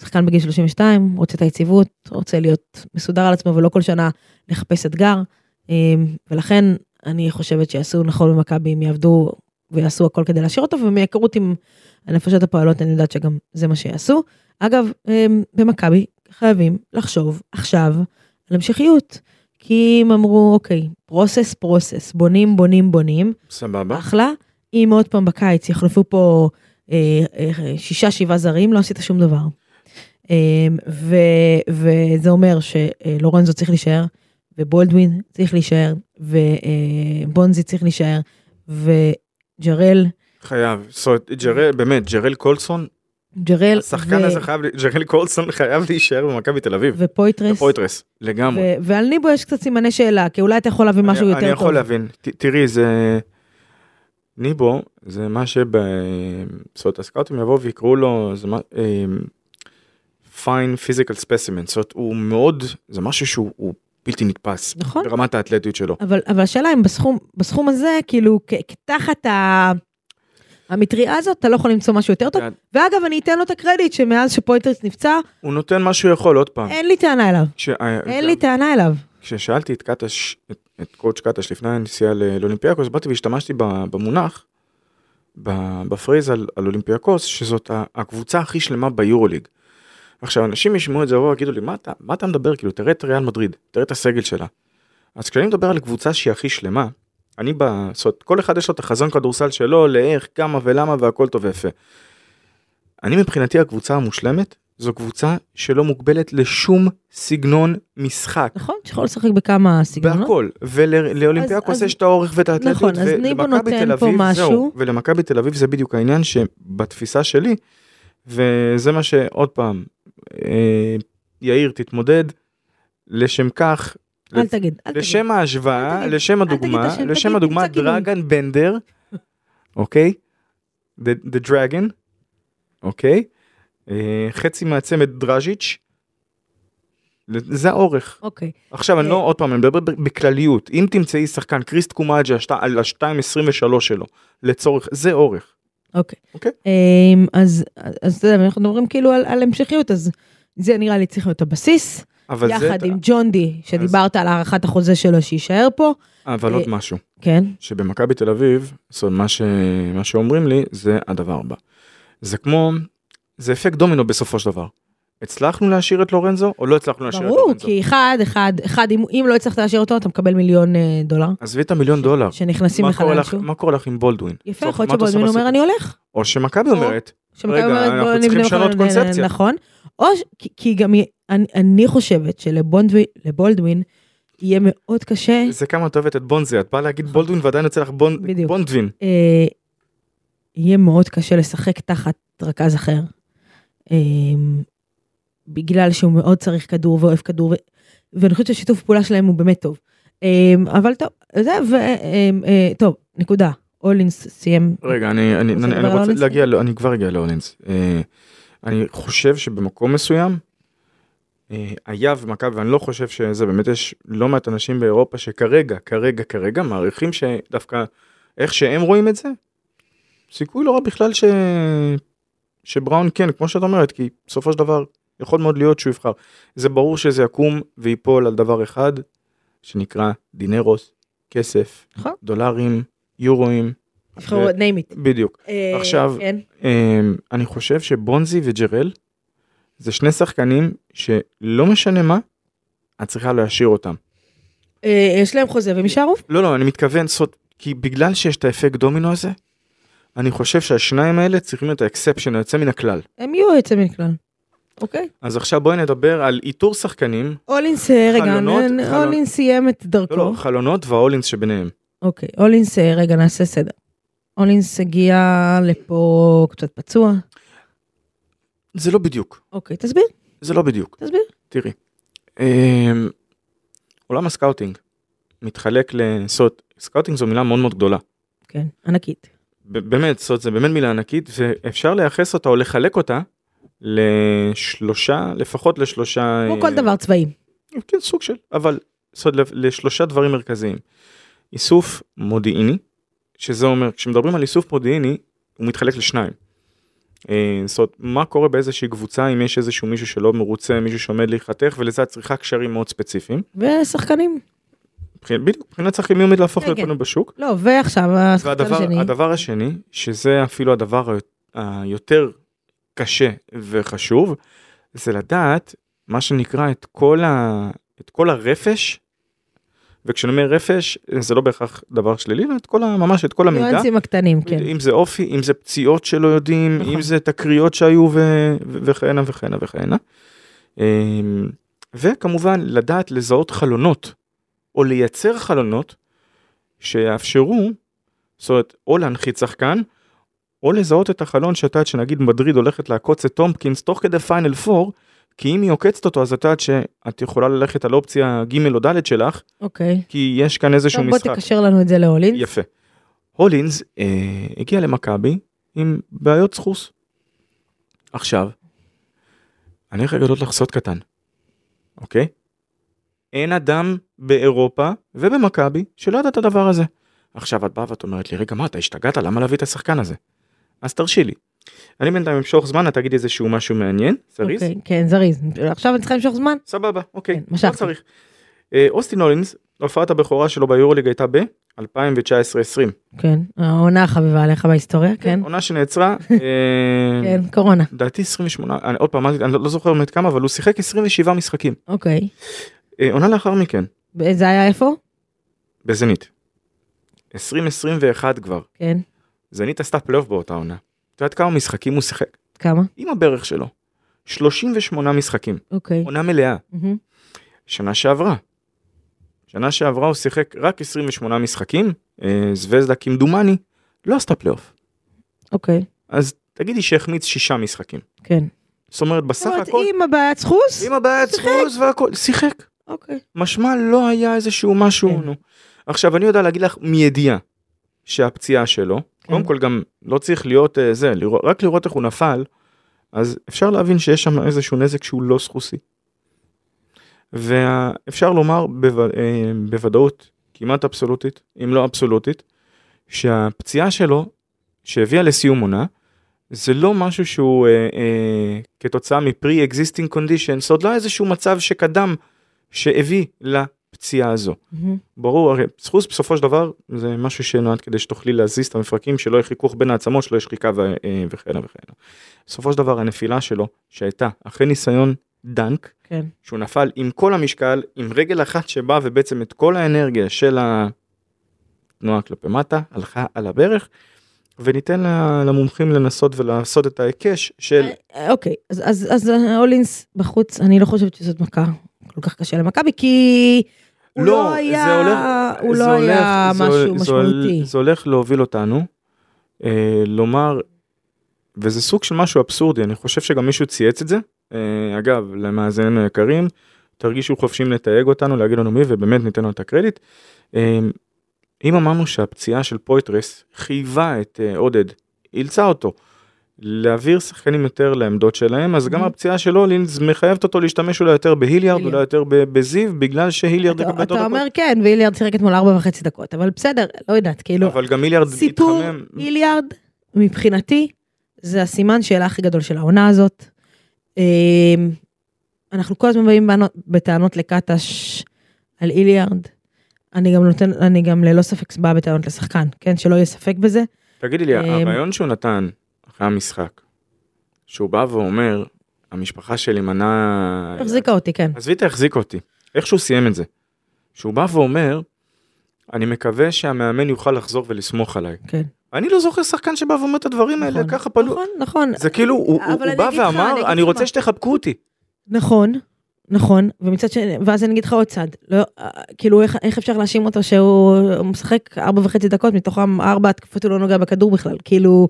S2: שחקן בגיל 32, רוצה את היציבות, רוצה להיות מסודר על עצמו ולא כל שנה לחפש אתגר, אה, ולכן אני חושבת שיעשו נכון במכבי אם יעבדו ויעשו הכל כדי להשאיר אותו, ומהיכרות עם הנפשות הפועלות אני יודעת שגם זה מה שיעשו. אגב, אה, במכבי חייבים לחשוב עכשיו על המשכיות. כי הם אמרו, אוקיי, פרוסס, פרוסס, בונים, בונים, בונים,
S3: סבבה.
S2: אחלה. אם עוד פעם בקיץ יחלפו פה אה, אה, שישה, שבעה זרים, לא עשית שום דבר. אה, ו, וזה אומר שלורנזו צריך להישאר, ובולדווין צריך להישאר, ובונזי צריך להישאר, וג'רל,
S3: חייב. זאת אומרת, ג'רל, באמת, ג'רל קולסון,
S2: ג'רל,
S3: השחקן
S2: ו-
S3: הזה חייב, ג'רל קולסון חייב להישאר במכבי תל אביב.
S2: ופויטרס,
S3: פויטרס, לגמרי.
S2: ו- ועל ניבו יש קצת סימני שאלה, כי אולי אתה יכול להביא משהו
S3: אני-
S2: יותר טוב.
S3: אני יכול להבין. ת- תראי, זה... ניבו, זה מה שב... זאת אומרת, הסקאוטים יבואו ויקראו לו, זה מה... אמ, fine physical specimen, זאת אומרת, הוא מאוד, זה משהו שהוא הוא בלתי נתפס.
S2: נכון.
S3: ברמת האתלטיות שלו.
S2: אבל, אבל השאלה אם בסכום, בסכום הזה, כאילו, כ- כ- תחת ה... המטריה הזאת, אתה לא יכול למצוא משהו יותר טוב.
S3: כן.
S2: ואגב, אני אתן לו את הקרדיט שמאז שפויטרס נפצע,
S3: הוא נותן מה שהוא יכול, עוד פעם.
S2: אין לי טענה אליו.
S3: כש-
S2: אה,
S3: אה,
S2: אין לי טענה אליו.
S3: כששאלתי את קטש, את, את קואוצ' קטש לפני הנסיעה ל- לאולימפיאקוס, באתי והשתמשתי ב- במונח, ב- בפרייז על, על אולימפיאקוס, שזאת ה- הקבוצה הכי שלמה ביורוליג. עכשיו, אנשים ישמעו את זה ויבואו ויגידו לי, מה אתה, מה אתה מדבר? כאילו, תראה את ריאל מדריד, תראה את הסגל שלה. אז כשאני מדבר על קבוצה שהיא הכי שלמה, אני ב... זאת אומרת, כל אחד יש לו את החזון כדורסל שלו, לאיך, כמה ולמה והכל טוב ויפה. אני מבחינתי הקבוצה המושלמת, זו קבוצה שלא מוגבלת לשום סגנון משחק.
S2: נכון? שיכול לשחק בכמה סגנונות.
S3: בהכל, ולאולימפיאקוס
S2: לא? אז-
S3: יש את האורך ואת האתלטיות,
S2: נכון, אז ניבו
S3: ולמכבי
S2: נותן
S3: תל
S2: פה
S3: אביב,
S2: משהו.
S3: זהו, ולמכבי תל אביב זה בדיוק העניין שבתפיסה שלי, וזה מה שעוד פעם, אה, יאיר תתמודד, לשם כך,
S2: אל
S3: לפ-
S2: תגיד, אל תגיד.
S3: לשם
S2: אל
S3: ההשוואה,
S2: תגיד.
S3: לשם
S2: תגיד את
S3: הדוגמה,
S2: השם,
S3: לשם
S2: תגיד,
S3: הדוגמה
S2: תמצא גילוי.
S3: דרגן בנדר, אוקיי? The the Dragon, אוקיי? אה, חצי מהצמד דראז'יץ', זה האורך.
S2: אוקיי.
S3: עכשיו אני לא
S2: אה,
S3: עוד פעם אני מדבר ב- בכלליות אם תמצאי שחקן קריסט קומאג'ה שת- על ה-2.23 שלו לצורך זה אורך.
S2: אוקיי.
S3: אוקיי.
S2: אמ, אז, אז אתה יודע, אנחנו מדברים כאילו על, על המשכיות, אז זה נראה לי צריך להיות הבסיס.
S3: אבל זה
S2: יחד עם ג'ון די, שדיברת על הארכת החוזה שלו שיישאר פה.
S3: אבל
S2: אה,
S3: עוד משהו
S2: כן,
S3: שבמכבי תל אביב זאת אומרת, מה ש- מה שאומרים לי זה הדבר הבא. זה כמו זה אפקט דומינו בסופו של דבר. הצלחנו להשאיר את לורנזו או לא הצלחנו להשאיר את
S2: ברור,
S3: לורנזו.
S2: כי אחד, אחד, אחד, אם, אם לא הצלחת להשאיר אותו, אתה מקבל מיליון אה, דולר.
S3: עזבי את המיליון דולר.
S2: שנכנסים
S3: מה
S2: לך
S3: קורה לך-
S2: לאנשהו.
S3: מה קורה לך עם בולדווין?
S2: יפה,
S3: לצורך-
S2: יכול להיות
S3: מה אתה עושה
S2: שבולדווין אומר
S3: בסיפור?
S2: אני הולך.
S3: או שמכבי
S2: או-
S3: אומרת
S2: שמכבי
S3: רגע,
S2: אומרת,
S3: אנחנו
S2: "בוא
S3: צריכים
S2: נבנה
S3: לשנות
S2: מחר",
S3: קונספציה.
S2: נכון. או, ש- כי- כי גם י- אני- אני חושבת שלבולדווין יהיה מאוד קשה
S3: זה כמה את אוהבת את בונזי את באה להגיד בולדווין ועדיין יוצא לך בונ-
S2: בדיוק.
S3: בונדווין.
S2: אה, יהיה מאוד קשה לשחק תחת רכז אחר. אה, בגלל שהוא מאוד צריך כדור ואוהב כדור, ו- ואני חושבת שהשיתוף פעולה שלהם הוא באמת טוב. אה, אבל טוב, זה, ו... אה, אה, טוב, נקודה. אולינס סיים.
S3: רגע, אני, אני,
S2: רוצה
S3: אני, אני
S2: לדבר על
S3: רוצה
S2: אולינס?
S3: להגיע, לא, אני כבר אגיע לאולינס. אה, אני חושב שבמקום מסוים, אה, היה ומכבי, ואני לא חושב שזה, באמת יש לא מעט אנשים באירופה שכרגע, כרגע, כרגע, מעריכים שדווקא איך שהם רואים את זה, סיכוי לא רע בכלל ש... שבראון כן, כמו שאת אומרת, כי בסופו של דבר יכול מאוד להיות שהוא יבחר. זה ברור שזה יקום וייפול על דבר אחד, שנקרא דינרוס, כסף,
S2: נכון.
S3: דולרים, יורואים.
S2: תבחרו, name it.
S3: בדיוק.
S2: אה,
S3: עכשיו-
S2: כן.
S3: אמ, אני חושב שבונזי וג'רל זה שני שחקנים שלא משנה מה, את צריכה להשאיר אותם.
S2: אה, יש להם חוזה והם יישארו.
S3: לא, לא, אני מתכוון, זאת, כי בגלל שיש את האפקט דומינו הזה, אני חושב שהשניים האלה צריכים להיות האקספשן, היוצא מן הכלל.
S2: הם יהיו יוצא מן הכלל. אוקיי?
S3: אז עכשיו בואי נדבר על איתור שחקנים,
S2: אולינס, אה, רגע,
S3: חלונות,
S2: נ-
S3: חלונ-
S2: אולינס סיים את
S3: לא, לא,
S2: דרכו.
S3: חלונות וההולינס שביניהם.
S2: אוקיי, אולינס, אה, רגע, נעשה סדר. אולינס הגיע לפה קצת פצוע.
S3: זה לא בדיוק,
S2: אוקיי, תסביר,
S3: זה לא בדיוק.
S2: תסביר.
S3: תראי, אמ, עולם הסקאוטינג מתחלק לסוד, סקאוטינג זו מילה מאוד מאוד גדולה.
S2: כן, ענקית.
S3: ב- באמת, זאת זה באמת מילה ענקית, ואפשר לייחס אותה או לחלק אותה לשלושה, לפחות לשלושה...
S2: כמו
S3: אה,
S2: כל דבר צבאי.
S3: כן, סוג של, אבל סוד לב, לשלושה דברים מרכזיים. איסוף מודיעיני, שזה אומר, כשמדברים על איסוף מודיעיני, הוא מתחלק לשניים. אה, זאת אומרת, מה קורה באיזושהי קבוצה אם יש איזשהו מישהו שלא מרוצה, מישהו שעומד להיחתך, ולזה את צריכה קשרים מאוד ספציפיים.
S2: ושחקנים.
S3: מבחינת- בדיוק, מבחינת שחקנים מי עומד להפוך
S2: כן,
S3: לפנו בשוק.
S2: לא, ועכשיו השחקן
S3: והדבר
S2: השני.
S3: הדבר השני, שזה אפילו הדבר היו- היותר קשה וחשוב, זה לדעת מה שנקרא את כל, ה, את כל הרפש, וכשאני אומר רפש, זה לא בהכרח דבר שלילי, אלא את כל ה, ממש את כל המידע.
S2: ניואנסים הקטנים, כן.
S3: אם זה אופי, אם זה פציעות שלא יודעים,
S2: נכון.
S3: אם זה תקריות שהיו ו... ו- וכהנה וכהנה וכהנה. אמ, וכמובן לדעת לזהות חלונות, או לייצר חלונות שיאפשרו, זאת אומרת, או להנחית שחקן, או לזהות את החלון שאת יודעת שנגיד מדריד הולכת לעקוץ את טומפקינס תוך כדי פיינל 4, כי אם היא עוקצת אותו אז את יודעת שאת יכולה ללכת על אופציה ג' או ד' שלך,
S2: אוקיי.
S3: כי יש כאן איזשהו
S2: טוב,
S3: משחק.
S2: בוא תקשר לנו את זה להולינס.
S3: יפה. הולינס אה, הגיע למכבי עם בעיות סחוס. עכשיו, אני הולך לגלות לך סוד קטן, אוקיי? אין אדם באירופה ובמכבי שלא ידע את הדבר הזה. עכשיו את באה ואת אומרת לי, רגע, מה, אתה השתגעת? למה להביא את השחקן הזה? אז תרשי לי. אני בינתיים אמשוך זמן, את תגידי איזשהו משהו מעניין, זריז.
S2: אוקיי, כן, זריז. עכשיו אני צריכה למשוך זמן.
S3: סבבה, אוקיי,
S2: כן, משכתי.
S3: לא צריך. אה, אוסטין הולינס, הופעת הבכורה שלו ביורוליג הייתה ב-2019-2020.
S2: כן, העונה החביבה עליך בהיסטוריה, כן.
S3: עונה שנעצרה, אה,
S2: כן, קורונה.
S3: לדעתי 28, אני, עוד פעם, אני לא לא זוכר באמת כמה, אבל הוא שיחק 27 משחקים.
S2: אוקיי.
S3: אה, עונה לאחר מכן,
S2: זה היה איפה?
S3: בזנית. 2021 כבר.
S2: כן.
S3: זנית עשתה פלייאוף באותה עונה. את יודעת כמה משחקים הוא שיחק?
S2: כמה?
S3: עם הברך שלו. 38 משחקים.
S2: אוקיי.
S3: עונה מלאה.
S2: מהמם.
S3: שנה שעברה. שנה שעברה הוא שיחק רק 28 משחקים. אה, זווזדה כמדומני לא עשתה פלייאוף.
S2: אוקיי,
S3: אז תגידי שהחמיץ שישה משחקים.
S2: כן.
S3: זאת אומרת
S2: זאת
S3: בסך
S2: אומרת,
S3: הכל...
S2: עם הבעיית סחוס?
S3: עם הבעיית סחוז והכל, שיחק.
S2: אוקיי.
S3: משמע לא היה איזשהו משהו,
S2: כן.
S3: נו. עכשיו אני יודע להגיד לך מידיעה שהפציעה שלו, קודם כל גם לא צריך להיות אה, זה, לראות- רק לראות איך הוא נפל, אז אפשר להבין שיש שם איזשהו נזק שהוא לא סחוסי. ואפשר לומר בו- אה, בוודאות כמעט אבסולוטית, אם לא אבסולוטית, שהפציעה שלו שהביאה לסיום עונה, זה לא משהו שהוא אה, אה, כתוצאה מפרי אקזיסטינג קונדישנס, עוד לא איזשהו מצב שקדם שהביא לפציעה הזו.
S2: מהמם.
S3: ברור, הרי סחוס בסופו של דבר זה משהו שנועד כדי שתוכלי להזיז את המפרקים, שלא יהיה חיכוך בין העצמות, שלא יהיה שחיקה ו- אה, וכהנה וכהנה. בסופו של דבר הנפילה שלו שהייתה אחרי ניסיון דנק,
S2: כן.
S3: שהוא נפל עם כל המשקל, עם רגל אחת שבאה ובעצם את כל האנרגיה של התנועה כלפי מטה הלכה על הברך, וניתן ל- למומחים לנסות ולעשות את ההיקש של...
S2: אה, אוקיי, אז- אז אז, אה, הולינס בחוץ, אני לא חושבת שזאת מכה כל כך קשה למכבי, כי הוא
S3: לא,
S2: לא
S3: זה
S2: היה
S3: הולך-
S2: הוא
S3: זה
S2: לא
S3: הולך-
S2: היה
S3: זה-
S2: משהו
S3: זה-
S2: משמעותי.
S3: זה הולך להוביל אותנו, אה, לומר, וזה סוג של משהו אבסורדי, אני חושב שגם מישהו צייץ את זה. אה, אגב, למאזיננו היקרים, תרגישו חופשיים לתייג אותנו, להגיד לנו מי, ובאמת ניתן לו את הקרדיט. אה, אם אמרנו שהפציעה של פויטרס חייבה את אה, עודד, אילצה אותו, להעביר שחקנים יותר לעמדות שלהם, אז גם
S2: Mhm.
S3: הפציעה של הולינס מחייבת אותו להשתמש אולי יותר בהיליארד,
S2: היליארד.
S3: אולי יותר ב- בזיו, בגלל שהיליארד...
S2: אתה-
S3: יקבל יותר
S2: אתה
S3: דקות.
S2: אומר כן, ואיליארד שיחק אתמול ארבע וחצי דקות, אבל בסדר, לא יודעת, כאילו,
S3: אבל לא, גם מיליארד
S2: סיפור
S3: התחמם.
S2: איליארד, מבחינתי, זה הסימן שאלה הכי גדול של העונה הזאת. אמ, אנחנו כל הזמן באים בנו- בטענות לקטש על איליארד. אני גם נותן, אני גם ללא ספק באה בטענות לשחקן, כן? שלא יהיה ספק בזה.
S3: תגידי לי,
S2: אמ,
S3: הרעיון שהוא נתן אחרי המשחק, שהוא בא ואומר, המשפחה שלי מנעה...
S2: החזיקה אותי, כן.
S3: עזבי תחזיק אותי, איך שהוא סיים את זה. שהוא בא ואומר, אני מקווה שהמאמן יוכל לחזור ולסמוך עליי.
S2: כן.
S3: אני לא זוכר שחקן שבא ואומר את הדברים האלה,
S2: נכון.
S3: ככה פנו.
S2: נכון, נכון,
S3: זה כאילו, הוא
S2: אבל
S3: הוא- הוא
S2: אני
S3: בא
S2: אגיד לך, אני אגיד
S3: ואמר, אני
S2: לך
S3: רוצה
S2: מה."
S3: שתחבקו אותי.
S2: נכון, נכון, ומצד שני, ואז אני אגיד לך עוד צד, לא, אה, כאילו איך, איך אפשר להאשים אותו שהוא משחק ארבע וחצי דקות, מתוכם ארבע התקפות הוא לא נוגע בכדור בכלל, כאילו,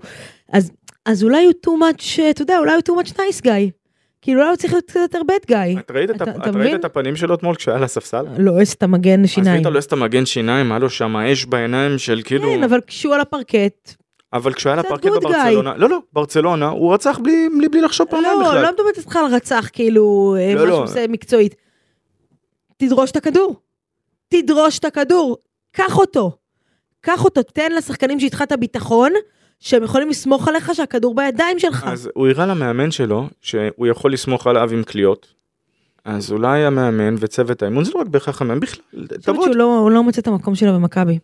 S2: אז, אז אולי הוא too much, אתה יודע, אולי הוא too much nice guy, כאילו אולי הוא צריך להיות קצת יותר bad guy.
S3: את ראית את
S2: אתה-
S3: הפ-
S2: אתה
S3: את ראית
S2: מבין?
S3: את הפנים שלו אתמול כשהיה על הספסל?
S2: לא, איזה אתה מגן שיניים.
S3: עזבי את הלועס את המגן שיניים, היה לו שם אש בעיניים של כאילו...
S2: כן, אבל כשהוא על הפרקט,
S3: אבל כשהוא היה
S2: קצת
S3: לפרקט
S2: good guy.
S3: בברצלונה, לא לא, ברצלונה, הוא רצח בלי בלי- בלי לחשוב פעמיים
S2: לא,
S3: בכלל.
S2: לא מדברת איתך על רצח, כאילו, אה,
S3: לא,
S2: משהו
S3: לא.
S2: עושה מקצועית. תדרוש את הכדור. תדרוש את הכדור. קח אותו. קח אותו, תן לשחקנים שאיתך את הביטחון, שהם יכולים לסמוך עליך שהכדור בידיים שלך.
S3: אז הוא הראה למאמן שלו שהוא יכול לסמוך עליו עם קליעות. אז אולי המאמן וצוות האימון זה לא רק בהכרח המאמן בכלל,
S2: אני חושבת
S3: תבוא,
S2: שהוא לא, הוא לא מוצא את המקום שלו במכבי.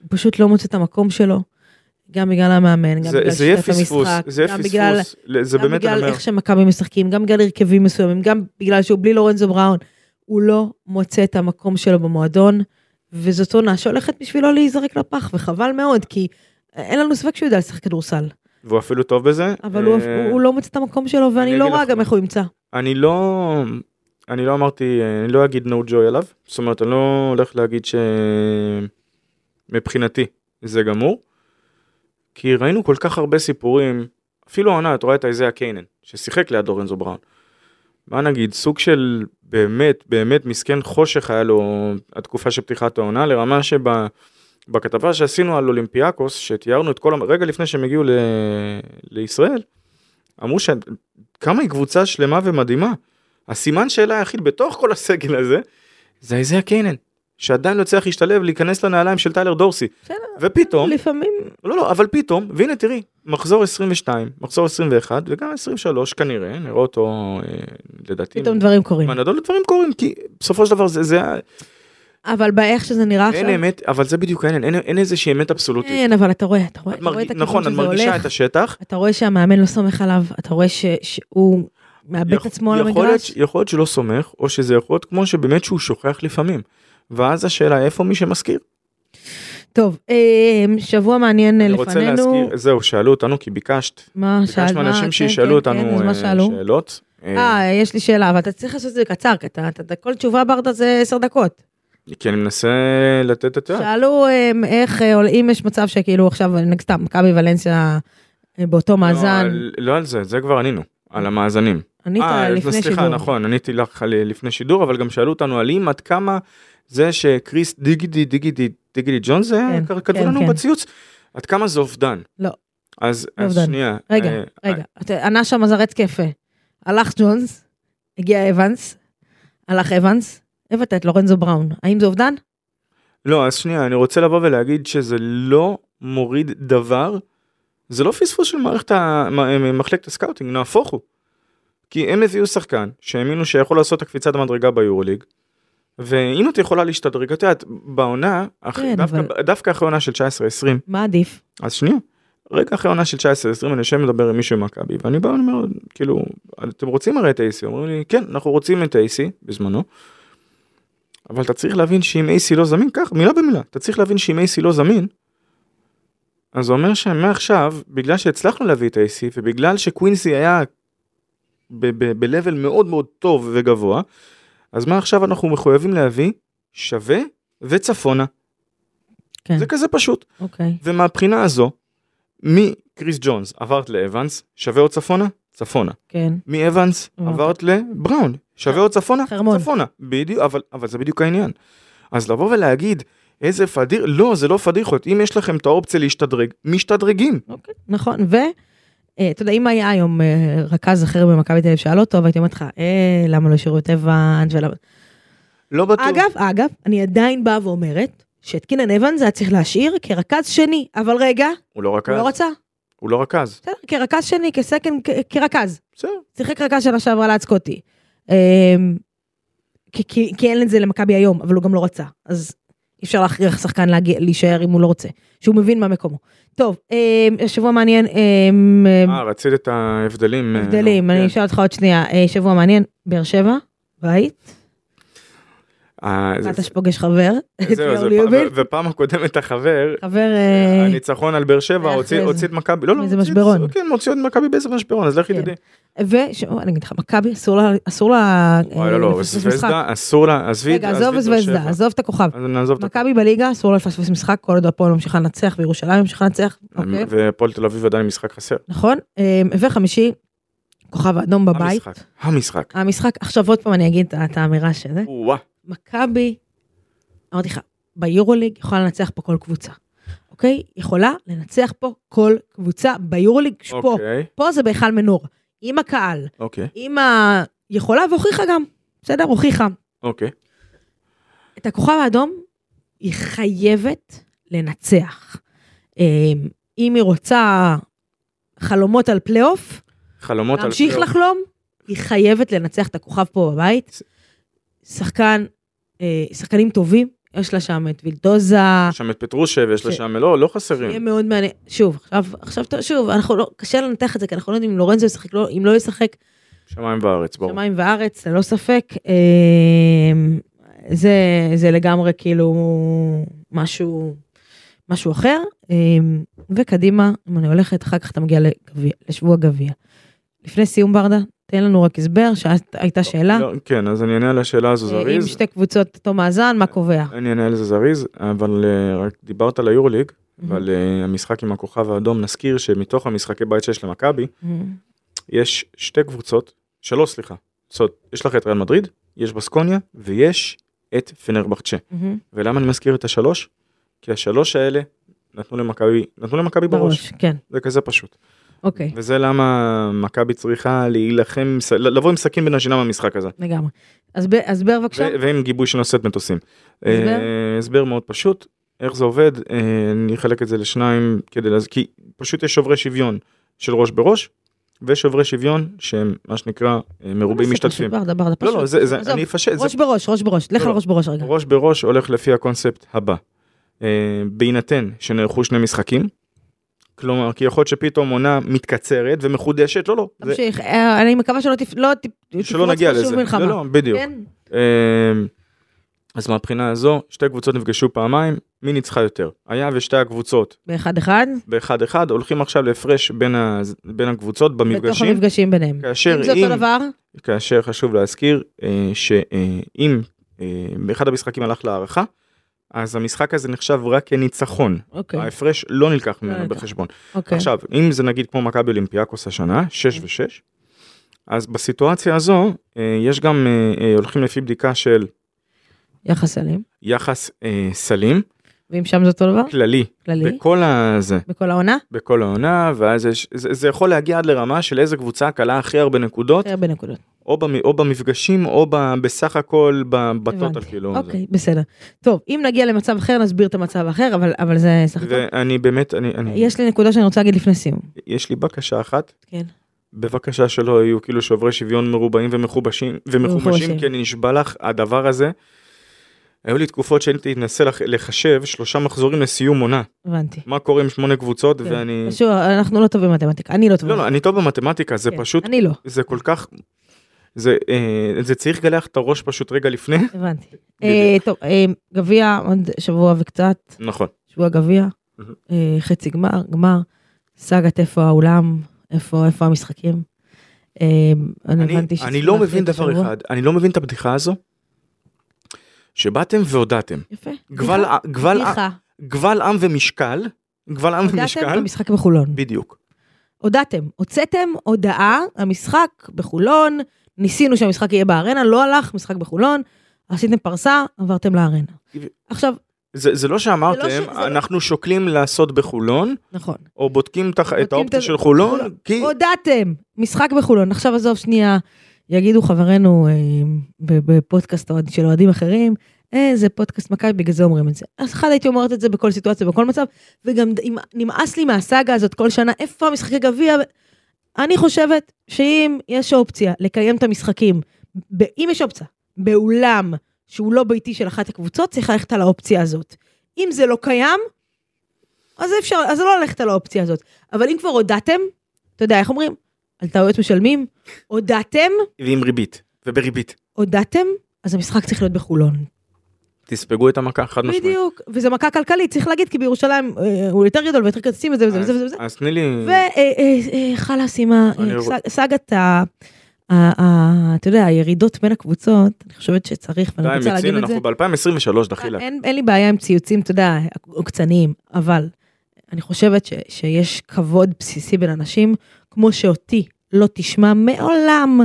S2: הוא פשוט לא מוצא את המקום שלו. גם בגלל המאמן, גם
S3: זה-
S2: בגלל
S3: זה יהיה
S2: שיטת
S3: פספוס,
S2: המשחק,
S3: זה יהיה
S2: גם בגלל
S3: פספוס, ל- זה
S2: גם
S3: באמת אני
S2: בגלל
S3: אומר,
S2: איך שמכבי משחקים, גם בגלל הרכבים מסוימים, גם בגלל שהוא בלי לורנזו בראון, הוא לא מוצא את המקום שלו במועדון, וזאת עונה שהולכת בשבילו להיזרק לפח, וחבל מאוד, כי אין לנו ספק שהוא יודע לשחק כדורסל,
S3: והוא אפילו טוב בזה.
S2: אבל הוא,
S3: אה,
S2: הוא לא מוצא את המקום שלו, ואני
S3: אני
S2: לא
S3: אגיד
S2: רואה
S3: לך
S2: גם
S3: מה.
S2: איך הוא ימצא.
S3: אני לא, אני לא אמרתי, אני לא אגיד no joy עליו, זאת אומרת אני לא הולך להגיד שמבחינתי זה גמור, כי ראינו כל כך הרבה סיפורים, אפילו העונה את רואה את איזיה קיינן, ששיחק ליד אורנזו בראון. מה נגיד, סוג של באמת באמת מסכן חושך היה לו התקופה של פתיחת העונה, לרמה שבה... בכתבה שעשינו על אולימפיאקוס, שתיארנו את כל, המ- רגע לפני שהם הגיעו ל... לישראל, אמרו ש... כמה היא קבוצה שלמה ומדהימה. הסימן שאלה היחיד בתוך כל הסגל הזה, זה איזיה קיינן, שעדיין לא הצליח להשתלב, להיכנס לנעליים של טיילר דורסי.
S2: בסדר.
S3: ופתאום,
S2: לפעמים,
S3: לא לא, אבל פתאום, והנה תראי, מחזור 22, מחזור 21, וגם 23 כנראה, נראה אותו, אה, לדעתי,
S2: פתאום דברים קורים.
S3: מנדול דברים קורים, כי בסופו של דבר זה, זה, ה-
S2: אבל באיך שזה נראה
S3: אין
S2: עכשיו,
S3: אמת, אבל זה בדיוק העניין, אין, אין איזושהי אמת אבסולוטית.
S2: אין, אבל אתה רואה, אתה אה, רואה,
S3: את
S2: אתה רואה את
S3: מרגיש,
S2: הכיוון
S3: נכון, את
S2: שזה
S3: מרגישה
S2: הולך,
S3: את השטח.
S2: אתה רואה שהמאמן לא סומך עליו, אתה רואה ש- שהוא מאבד את
S3: יכול-
S2: עצמו על
S3: יכול להיות
S2: המגרש.
S3: ש- יכול להיות שלא סומך, או שזה יכול להיות כמו שבאמת שהוא שוכח לפעמים. ואז השאלה איפה מי שמזכיר.
S2: טוב, אה, שבוע מעניין אה,
S3: אני
S2: לפנינו.
S3: רוצה להזכיר, זהו, שאלו אותנו כי ביקשת.
S2: מה
S3: ביקשת
S2: שאל- מה,
S3: מאנשים
S2: כן,
S3: שישאלו
S2: כן,
S3: אותנו
S2: כן, אז מה
S3: אה,
S2: שאלו?
S3: שאלות. אה,
S2: אה, יש לי שאלה, אבל אתה צריך לעשות את זה קצר, כי אתה, אתה, אתה, כל תשובה ברדה זה עשר דקות.
S3: כי אני מנסה לתת את ה...
S2: שאלו אמ, איך, אה, או אם יש מצב שכאילו עכשיו, אה, נגיד סתם, מכבי ולנסיה אה, באותו מאזן,
S3: לא על זה, זה כבר ענינו. על המאזנים.
S2: ענית
S3: אה,
S2: לפני שידור.
S3: סליחה, נכון, עניתי לך על- לפני שידור, אבל גם שאלו אותנו על אם עד כמה זה שקריס דיגידי דיגידי דיגידי ג'ון זה,
S2: כן,
S3: כ- כתבו
S2: כן,
S3: לנו
S2: כן.
S3: בציוץ, עד כמה זה אובדן.
S2: לא.
S3: אז
S2: לא
S3: אז
S2: אובדן.
S3: שנייה.
S2: רגע,
S3: אה,
S2: רגע, אתה- ענה שם מזרץ כיפה. הלך ג'ונס, הגיע אבנס, הלך אבנס, הבאת את לורנזו בראון. האם זה אובדן?
S3: לא, אז שנייה, אני רוצה לבוא ולהגיד שזה לא מוריד דבר, זה לא פספוס של מערכת ה... מ- אה, מחלקת הסקאוטינג, נהפוך הוא. כי הם הביאו שחקן שהאמינו שיכול לעשות את הקפיצת המדרגה ביורוליג, ואם את יכולה להשתדרג, את יודעת, בעונה, אח...
S2: כן,
S3: דווקא,
S2: אבל-
S3: דווקא אחרי עונה של 19-20,
S2: מה עדיף?
S3: אז שנייה, רגע אחרי עונה של 19-20 אני יושב מדבר עם מישהו ממכבי ואני בא ואני אומר כאילו אתם רוצים הרי את AC אומרים לי כן אנחנו רוצים את AC בזמנו. אבל אתה צריך להבין שאם AC לא זמין כך מילה במילה אתה צריך להבין שאם AC לא זמין. אז זה אומר שמעכשיו בגלל שהצלחנו להביא את AC ובגלל שקווינסי היה ב-level מאוד מאוד טוב וגבוה אז מה עכשיו אנחנו מחויבים להביא שווה וצפונה
S2: כן,
S3: זה כזה פשוט.
S2: אוקיי.
S3: ומהבחינה הזו, מקריס ג'ונס עברת לאבנס, שווה עוד צפונה? צפונה.
S2: כן,
S3: מאבנס
S2: אוקיי.
S3: עברת לבראון, שווה עוד צפונה?
S2: חרמון.
S3: צפונה. בדיוק, אבל, אבל זה בדיוק העניין. אז לבוא ולהגיד, איזה פדיר, לא, זה לא פדיחות, אם יש לכם את האופציה להשתדרג, משתדרגים.
S2: אוקיי, נכון, ו... אה, אתה יודע, אם היה היום אה, רכז אחר במכבי תל אביב שאל אותו, והייתי אומרת לך, אה, למה לא השאירו את אבנס ולמה...
S3: לא בטוח.
S2: אגב, אגב, אני עדיין באה ואומרת שאת קינן אבנס היה צריך להשאיר כרכז שני, אבל רגע,
S3: הוא לא
S2: הוא
S3: רכז.
S2: לא רצה,
S3: הוא לא רכז.
S2: בסדר, כרכז שני, כסקנד, כ- כרכז.
S3: בסדר.
S2: שיחק רכז שנה שעברה ליד סקוטי. אמ, כי- כי כי אין את זה למכבי היום, אבל הוא גם לא רצה, אז אי אפשר להכריח שחקן להגיע- להישאר אם הוא לא רוצה, שהוא מבין מה מקומו. טוב, אמ, שבוע מעניין, אמ,
S3: אה, רצית את ההבדלים. אה,
S2: הבדלים,
S3: נו,
S2: אני
S3: כן.
S2: אשאל אותך עוד שנייה, אה, שבוע מעניין, באר שבע, בית,
S3: אה, זה-
S2: אתה שפוגש חבר, את
S3: זהו,
S2: ליאור
S3: זה
S2: ליובין.
S3: פעם- לא- ופעם הקודמת החבר,
S2: חבר, אה,
S3: הניצחון על באר שבע
S2: היה
S3: הוציא
S2: אחרי
S3: הוציא את מכבי, לא, לא,
S2: מאיזה
S3: הוציא את-
S2: משברון.
S3: כן, הוציא את מכבי באיזה משברון, אז לכי
S2: כן.
S3: תדעי.
S2: וש... או, אני אגיד לך, מכבי אסור לה, אסור לה,
S3: וואי,
S2: אה,
S3: לא, לא,
S2: לפספס משחק.
S3: זווזדה, אסור לה, עזבי,
S2: רגע, עזוב
S3: עזבי באר
S2: וזווזדה,
S3: שבע.
S2: עזוב את הכוכב.
S3: אז נעזוב את
S2: מכבי בליגה אסור לה לפספס משחק, כל עוד הפועל ממשיכה לנצח וירושלים ממשיכה לנצח, אוקיי?
S3: והפועל תל אביב עדיין משחק חסר.
S2: נכון? אמ, וחמישי, כוכב האדום בבית.
S3: המשחק. המשחק.
S2: המשחק, עכשיו עוד פעם אני אגיד את- את האמירה שזה.
S3: וואה.
S2: מכבי, אמרתי לך, ביורוליג יכולה לנצח פה כל קבוצה, אוקיי? יכולה לנצח פה כל קבוצה ביורוליג, פה,
S3: אוקיי,
S2: פה זה בהיכל מנור, עם הקהל,
S3: אוקיי,
S2: עם ה... יכולה והוכיחה גם, בסדר? הוכיחה.
S3: אוקיי.
S2: את הכוכב האדום, היא חייבת לנצח. אמ, אם היא רוצה חלומות על פלייאוף,
S3: חלומות על... לא,
S2: להמשיך
S3: פלייאוף.
S2: לחלום, היא חייבת לנצח את הכוכב פה בבית. שחקן, אה, שחקנים טובים, יש לה שם את וילדוזה,
S3: יש שם את פטרושב, יש לה
S2: ש-
S3: שם, לא, לא
S2: יהיה
S3: חסרים.
S2: מאוד מעניין. שוב, עכשיו, עכשיו, אתה- שוב, אנחנו לא, קשה לנתח את זה, כי אנחנו לא יודעים אם לורנזו ישחק, לא, אם לא ישחק,
S3: שמיים וארץ, ברור.
S2: שמיים וארץ, ללא ספק. אה, זה, זה לגמרי כאילו משהו, משהו אחר. אה, וקדימה, אם אני הולכת, אחר כך אתה מגיע לגביע, לשבוע גביע. לפני סיום ברדה, תן לנו רק הסבר, שהייתה שאלה.
S3: לא, כן, אז אני אענה על השאלה הזו
S2: אה, אם
S3: זריז.
S2: שתי קבוצות אותו מאזן, מה קובע?
S3: אני אענה על זה זריז, אבל אה, רק דיברת על היורוליג,
S2: Mm-hmm.
S3: ועל אה, המשחק עם הכוכב האדום, נזכיר שמתוך המשחקי בית שיש למכבי,
S2: מהמם.
S3: יש שתי קבוצות, שלוש סליחה, זאת, יש לך את ריאל מדריד, יש בסקוניה ויש את פנרבחצ'ה.
S2: מהמם.
S3: ולמה אני מזכיר את השלוש? כי השלוש האלה נתנו למכבי, נתנו למכבי בראש,
S2: בראש, כן,
S3: זה כזה פשוט.
S2: אוקיי,
S3: וזה למה מכבי צריכה להילחם, ס- לבוא עם סכין בין השיניים במשחק הזה.
S2: לגמרי. אז ב- אז בר בבקשה.
S3: ו- ועם גיבוי שנושאת מטוסים.
S2: הסבר?
S3: אה, הסבר מאוד פשוט, איך זה עובד, אה, אני אחלק את זה לשניים כדי להז... כי פשוט יש שוברי שוויון של ראש בראש, ושוברי שוויון שהם מה שנקרא אה, מרובים
S2: לא, זה
S3: משתתפים.
S2: פשוט ברדה, ברדה,
S3: לא, לא,
S2: פשוט.
S3: זה, זה,
S2: עזוב,
S3: אני אפשט, זה
S2: ראש בראש, ראש בראש, לך
S3: לא,
S2: על
S3: לא.
S2: ראש בראש רגע.
S3: ראש בראש הולך לפי הקונספט הבא. אה, בהינתן שנערכו שני משחקים, כלומר, כי יכול להיות שפתאום עונה מתקצרת ומחודשת, לא, לא. זה-
S2: תמשיך, אה, אני מקווה שלא תפ... לא תפ...
S3: שלא נגיע לזה.
S2: שוב מלחמה.
S3: לא, לא, בדיוק.
S2: כן?
S3: אמ, אז מהבחינה הזו שתי קבוצות נפגשו פעמיים מי ניצחה יותר היה ושתי הקבוצות
S2: באחד אחד,
S3: באחד אחד הולכים עכשיו להפרש בין, ה... בין הקבוצות
S2: בתוך
S3: במפגשים
S2: המפגשים ביניהם.
S3: כאשר
S2: אם זה
S3: אם
S2: אותו דבר,
S3: כאשר חשוב להזכיר אה, שאם אה, באחד המשחקים הלך להערכה אז המשחק הזה נחשב רק כניצחון
S2: אוקיי,
S3: ההפרש לא נלקח
S2: לא
S3: ממנו
S2: נלקח.
S3: בחשבון
S2: אוקיי.
S3: עכשיו אם זה נגיד כמו מכבי אולימפיאקוס השנה 6 ו6 אז בסיטואציה הזו אה, יש גם אה, אה, הולכים לפי בדיקה של
S2: יחס אלים.
S3: יחס אה, סלים
S2: ואם שם זה אותו דבר,
S3: כללי
S2: כללי,
S3: בכל הזה
S2: בכל העונה,
S3: בכל העונה ואז יש זה, זה יכול להגיע עד לרמה של איזה קבוצה קלה הכי הרבה נקודות
S2: יותר אה, בנקודות.
S3: או, במ, או במפגשים או ב, בסך הכל ב- בטוטל
S2: הבנתי.
S3: כאילו.
S2: אוקיי, בסדר. טוב, אם נגיע למצב אחר, נסביר את המצב האחר, אבל- אבל זה סך
S3: זה.
S2: הכל.
S3: ואני באמת אני, אני יש...
S2: נכון. יש לי נקודה שאני רוצה להגיד לפני סיום.
S3: יש לי בקשה אחת
S2: כן.
S3: בבקשה שלא יהיו כאילו שוברי שוויון מרובעים ומחובשים ומחובשים
S2: ומחובשים.
S3: כי אני נשבע לך הדבר הזה. היו לי תקופות שהייתי מנסה לח- לחשב שלושה מחזורים לסיום עונה
S2: הבנתי.
S3: מה קורה עם שמונה קבוצות
S2: כן.
S3: ואני
S2: שוב, אנחנו לא טובים במתמטיקה, אני לא טובה.
S3: לא לא אני טוב במתמטיקה זה
S2: כן,
S3: פשוט
S2: אני לא,
S3: זה כל כך, זה, אה, זה צריך לגלח את הראש פשוט רגע לפני.
S2: הבנתי. אה, טוב, אה, גביע עוד שבוע וקצת.
S3: נכון.
S2: שבוע גביע,
S3: מהמם.
S2: אה, חצי גמר, גמר, סאגת איפה האולם, איפה איפה המשחקים. אה, אני הבנתי
S3: אני, אני
S2: שצריך
S3: לא
S2: להחליט
S3: מבין דבר
S2: השבוע.
S3: אחד, אני לא מבין את הבדיחה הזו, שבאתם והודעתם,
S2: יפה.
S3: גבל,
S2: בדיחה.
S3: גבל,
S2: נכון. בדיחה.
S3: גבל עם ומשקל, גבל עם
S2: הודעתם
S3: ומשקל,
S2: במשחק בחולון.
S3: בדיוק.
S2: הודעתם, הוצאתם הודעה, המשחק בחולון, ניסינו שהמשחק יהיה בארנה, לא הלך, משחק בחולון, עשיתם פרסה, עברתם לארנה.
S3: ו-
S2: עכשיו,
S3: זה, זה לא
S2: זה לא ש-
S3: שאמרתם,
S2: זה לא-
S3: אנחנו שוקלים לעשות בחולון,
S2: נכון,
S3: או בודקים תח- את
S2: בודקים את
S3: האופציה
S2: ה-
S3: של חולון,
S2: חולון.
S3: כי...
S2: הודעתם, משחק בחולון. עכשיו עזוב שנייה, יגידו חברינו אה, ב- בפודקאסט האוהד- של אוהדים אחרים, אה, זה פודקאסט מכבי, בגלל זה אומרים את זה. אז אחד הייתי אומרת את זה בכל סיטואציה, בכל מצב, וגם ד- אם- נמאס לי מהסאגה הזאת כל שנה, איפה המשחקי גביע? אני חושבת שאם יש אופציה לקיים את המשחקים, ב- אם יש אופציה, באולם שהוא לא ביתי של אחת הקבוצות, צריך ללכת על האופציה הזאת. אם זה לא קיים, אז אפשר, אז לא ללכת על האופציה הזאת. אבל אם כבר הודעתם, אתה יודע, איך אומרים? על טעויות משלמים, הודעתם,
S3: ועם ריבית, ובריבית.
S2: הודעתם, אז המשחק צריך להיות בחולון.
S3: תספגו את המכה חד משמעית.
S2: בדיוק, וזה מכה כלכלית, צריך להגיד, כי בירושלים אה, הוא יותר גדול ויותר כרטיסים וזה וזה
S3: אז-
S2: וזה וזה. אה,
S3: אז תני לי...
S2: וחלאס עם ה-
S3: אני
S2: אה,
S3: רוא-
S2: סאג- סאגת ה... ה- ה- אתה יודע, הירידות בין הקבוצות, אני חושבת שצריך, ואני
S3: די,
S2: רוצה להגיד
S3: מיצינו,
S2: את זה. אה,
S3: אנחנו ב-2023, דחילה.
S2: אין, אין לי בעיה עם ציוצים, אתה יודע, עוקצניים, אבל אני חושבת ש, שיש כבוד בסיסי בין אנשים, כמו שאותי לא תשמע מעולם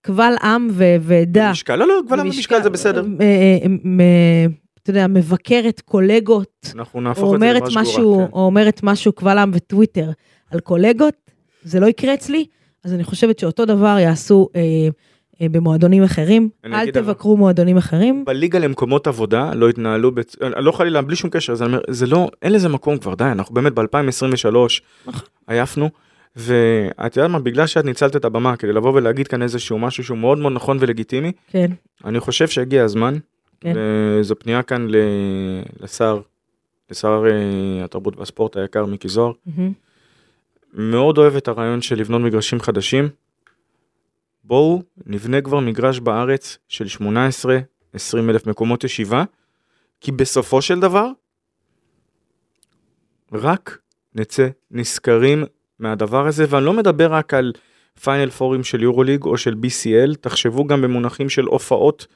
S2: קבל עם ו- ועדה.
S3: משקל, לא, לא, כבר במשקל זה בסדר.
S2: אה, אה, אה, אתה יודע, מבקרת קולגות,
S3: אנחנו
S2: או
S3: נהפוך את זה
S2: אומרת
S3: לדבר
S2: משהו,
S3: שגורה. כן.
S2: או אומרת משהו קבל עם וטוויטר על קולגות, זה לא יקרה אצלי, אז אני חושבת שאותו דבר יעשו אה, אה, במועדונים אחרים.
S3: אני
S2: אל
S3: אגיד דבר.
S2: תבקרו מועדונים אחרים.
S3: כן. בליגה למקומות עבודה לא התנהלו, בצ... לא חלילה, בלי שום קשר, אז אני אומר, זה לא, אין לזה מקום כבר, די, אנחנו באמת ב-2023
S2: נכון.
S3: עייפנו, ואת יודעת מה, בגלל שאת ניצלת את הבמה כדי לבוא ולהגיד כאן איזשהו משהו שהוא מאוד מאוד נכון ולגיטימי,
S2: כן,
S3: אני חושב שהגיע הזמן,
S2: כן.
S3: וזו פנייה כאן ל... לשר, לשר אה, התרבות והספורט היקר מיקי זוהר,
S2: מהמם.
S3: מאוד אוהב את הרעיון של לבנות מגרשים חדשים. בואו נבנה כבר מגרש בארץ של 18-20 אלף מקומות ישיבה, כי בסופו של דבר, רק נצא נשכרים מהדבר הזה, ואני לא מדבר רק על פיינל פורים של יורוליג או של BCL, תחשבו גם במונחים של הופעות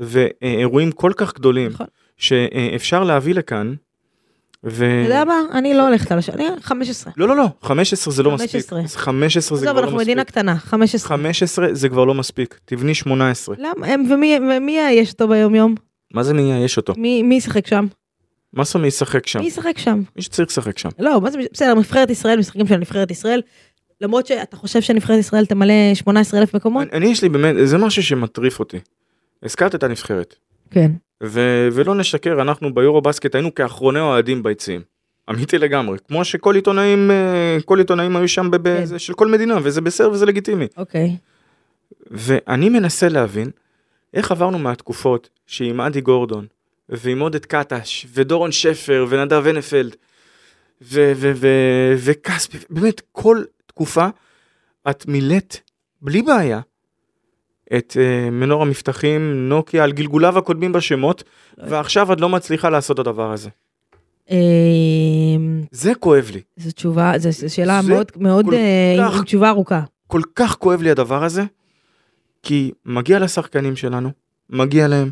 S3: ואירועים כל כך גדולים,
S2: נכון.
S3: שאפשר להביא לכאן. ו...
S2: אתה יודע מה? אני לא הולכת על השני, 15.
S3: לא, לא, לא, 15 זה לא מספיק.
S2: 15.
S3: 15 זה
S2: עזוב,
S3: כבר לא
S2: אנחנו מדינה
S3: מספיק.
S2: קטנה, 15.
S3: 15 זה כבר לא מספיק, תבני 18.
S2: למה? הם- ומי- ומי יש אותו ביום-יום?
S3: מה זה מי יאייש אותו?
S2: מי מי ישחק שם?
S3: מה זה מי ישחק שם?
S2: מי ישחק שם?
S3: מי שצריך לשחק שם.
S2: לא, מה זה, בסדר, נבחרת ישראל, משחקים של נבחרת ישראל. למרות שאתה חושב שנבחרת ישראל תמלא 18 אלף מקומות?
S3: אני, אני יש לי באמת, זה משהו שמטריף אותי. הזכרת את הנבחרת,
S2: כן.
S3: ו, ולא נשקר, אנחנו ביורו בסקט היינו כאחרוני אוהדים ביציעים. אמיתי לגמרי, כמו שכל עיתונאים, אה, כל עיתונאים היו שם, בב...
S2: כן.
S3: זה של כל מדינה, וזה בסדר וזה לגיטימי.
S2: אוקיי.
S3: ואני מנסה להבין איך עברנו מהתקופות שעם אדי גורדון ועם עודד קטש ודורון שפר ונדב הנפלד ו- ו- ו- וכספי, באמת כל תקופה את מילאת בלי בעיה את uh, מנור המבטחים נוקיה על גלגוליו הקודמים בשמות ועכשיו את לא מצליחה לעשות את הדבר הזה.
S2: אמ,
S3: זה כואב לי,
S2: זו תשובה, זו- זו שאלה
S3: זה
S2: מאוד, מאוד,
S3: כל
S2: אה, עם-
S3: כך-
S2: עם תשובה ארוכה.
S3: כל כך כואב לי הדבר הזה כי מגיע לשחקנים שלנו, מגיע להם.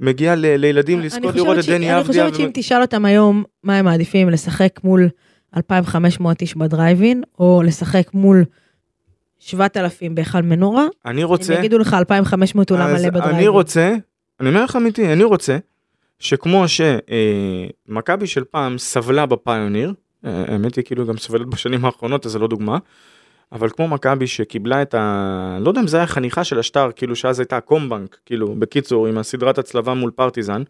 S3: מגיע ל- לילדים
S2: אני
S3: לזכות
S2: חושבת
S3: לראות את
S2: ש-
S3: דני
S2: אני
S3: אבדיה.
S2: חושבת שאם
S3: ומ-
S2: תשאל אותם היום מה הם מעדיפים, לשחק מול 2,500 איש בדרייבין, או לשחק מול 7,000 בהיכל מנורה,
S3: אני
S2: הם
S3: רוצה,
S2: יגידו לך 2,500 אולם
S3: אז
S2: לא מלא בדרייבין.
S3: אני רוצה, אני אומר לך אמיתי, אני רוצה שכמו שמכבי של פעם סבלה בפיוניר, אה, האמת היא כאילו גם סובלת בשנים האחרונות אז זה לא דוגמה, אבל כמו מכבי שקיבלה את ה... לא יודע אם זה היה חניכה של השטר, כאילו שאז הייתה הקומבנק, כאילו בקיצור עם הסדרת הצלבה מול פרטיזן.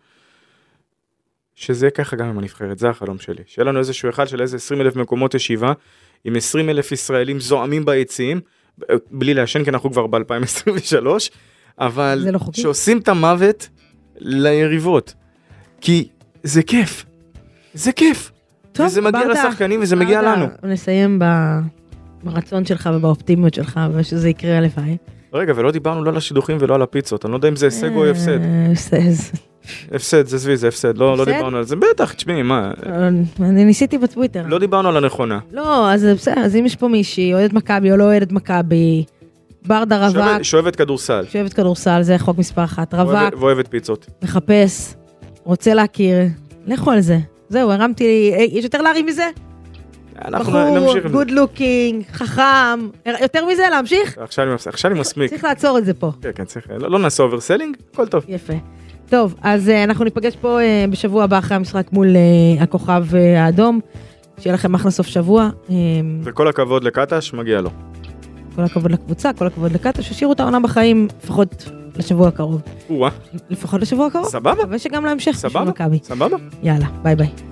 S3: שזה ככה גם עם הנבחרת, זה החלום שלי. שיהיה לנו איזשהו אחד של איזה 20 אלף מקומות ישיבה, עם 20 אלף ישראלים זועמים ביציעים, ב- בלי לעשן כי אנחנו כבר ב-2023, אבל
S2: זה לא חוקי.
S3: שעושים את המוות ליריבות. כי זה כיף, זה כיף,
S2: טוב,
S3: וזה מגיע
S2: ברדה,
S3: לשחקנים וזה מגיע
S2: ברדה,
S3: לנו.
S2: נסיים ב- ברצון שלך ובאופטימיות שלך, ושזה יקרה הלוואי.
S3: רגע, ולא דיברנו לא על השידוכים ולא על הפיצות, אני לא יודע אם זה הישג או
S2: אה,
S3: הפסד.
S2: הפסד.
S3: הפסד, זה סביב, זה הפסד, לא לא
S2: הפסד?
S3: דיברנו על זה, בטח, תשמעי, מה,
S2: אני ניסיתי בטוויטר.
S3: לא דיברנו על הנכונה.
S2: לא, אז בסדר, אז אם יש פה מישהי, אוהדת מכבי או לא אוהדת מכבי, ברדה
S3: שואבת-
S2: רווק,
S3: שואבת כדורסל,
S2: שאוהבת כדורסל, זה חוק מספר אחת, רווק,
S3: ואוהבת- ואוהבת פיצות.
S2: מחפש, רוצה להכיר, לכו על זה. זהו, הרמתי, אה, יש יותר להרים מזה?
S3: אנחנו
S2: בחור,
S3: נמשיך עם
S2: גוד לוקינג, חכם, אה, יותר מזה להמשיך?
S3: זה. עכשיו אני מפסיק, עכשיו אני מסמיק.
S2: צריך לעצור את זה פה.
S3: כן, כן, צריך, לא לא נעשה אוברסלינג, הכל טוב.
S2: יפה. טוב, אז אה, אנחנו ניפגש פה אה, בשבוע הבא אחרי המשחק מול אה, הכוכב אה, האדום. שיהיה לכם אחלה סוף שבוע. אה,
S3: וכל הכבוד לקטש, מגיע לו.
S2: כל הכבוד לקבוצה, כל הכבוד לקאטו, שישאירו את העונה בחיים לפחות לשבוע הקרוב.
S3: או-אה,
S2: לפחות לשבוע הקרוב.
S3: סבבה,
S2: מקווה שגם להמשך. בשביל
S3: סבבה,
S2: מכבי.
S3: סבבה.
S2: יאללה, ביי ביי.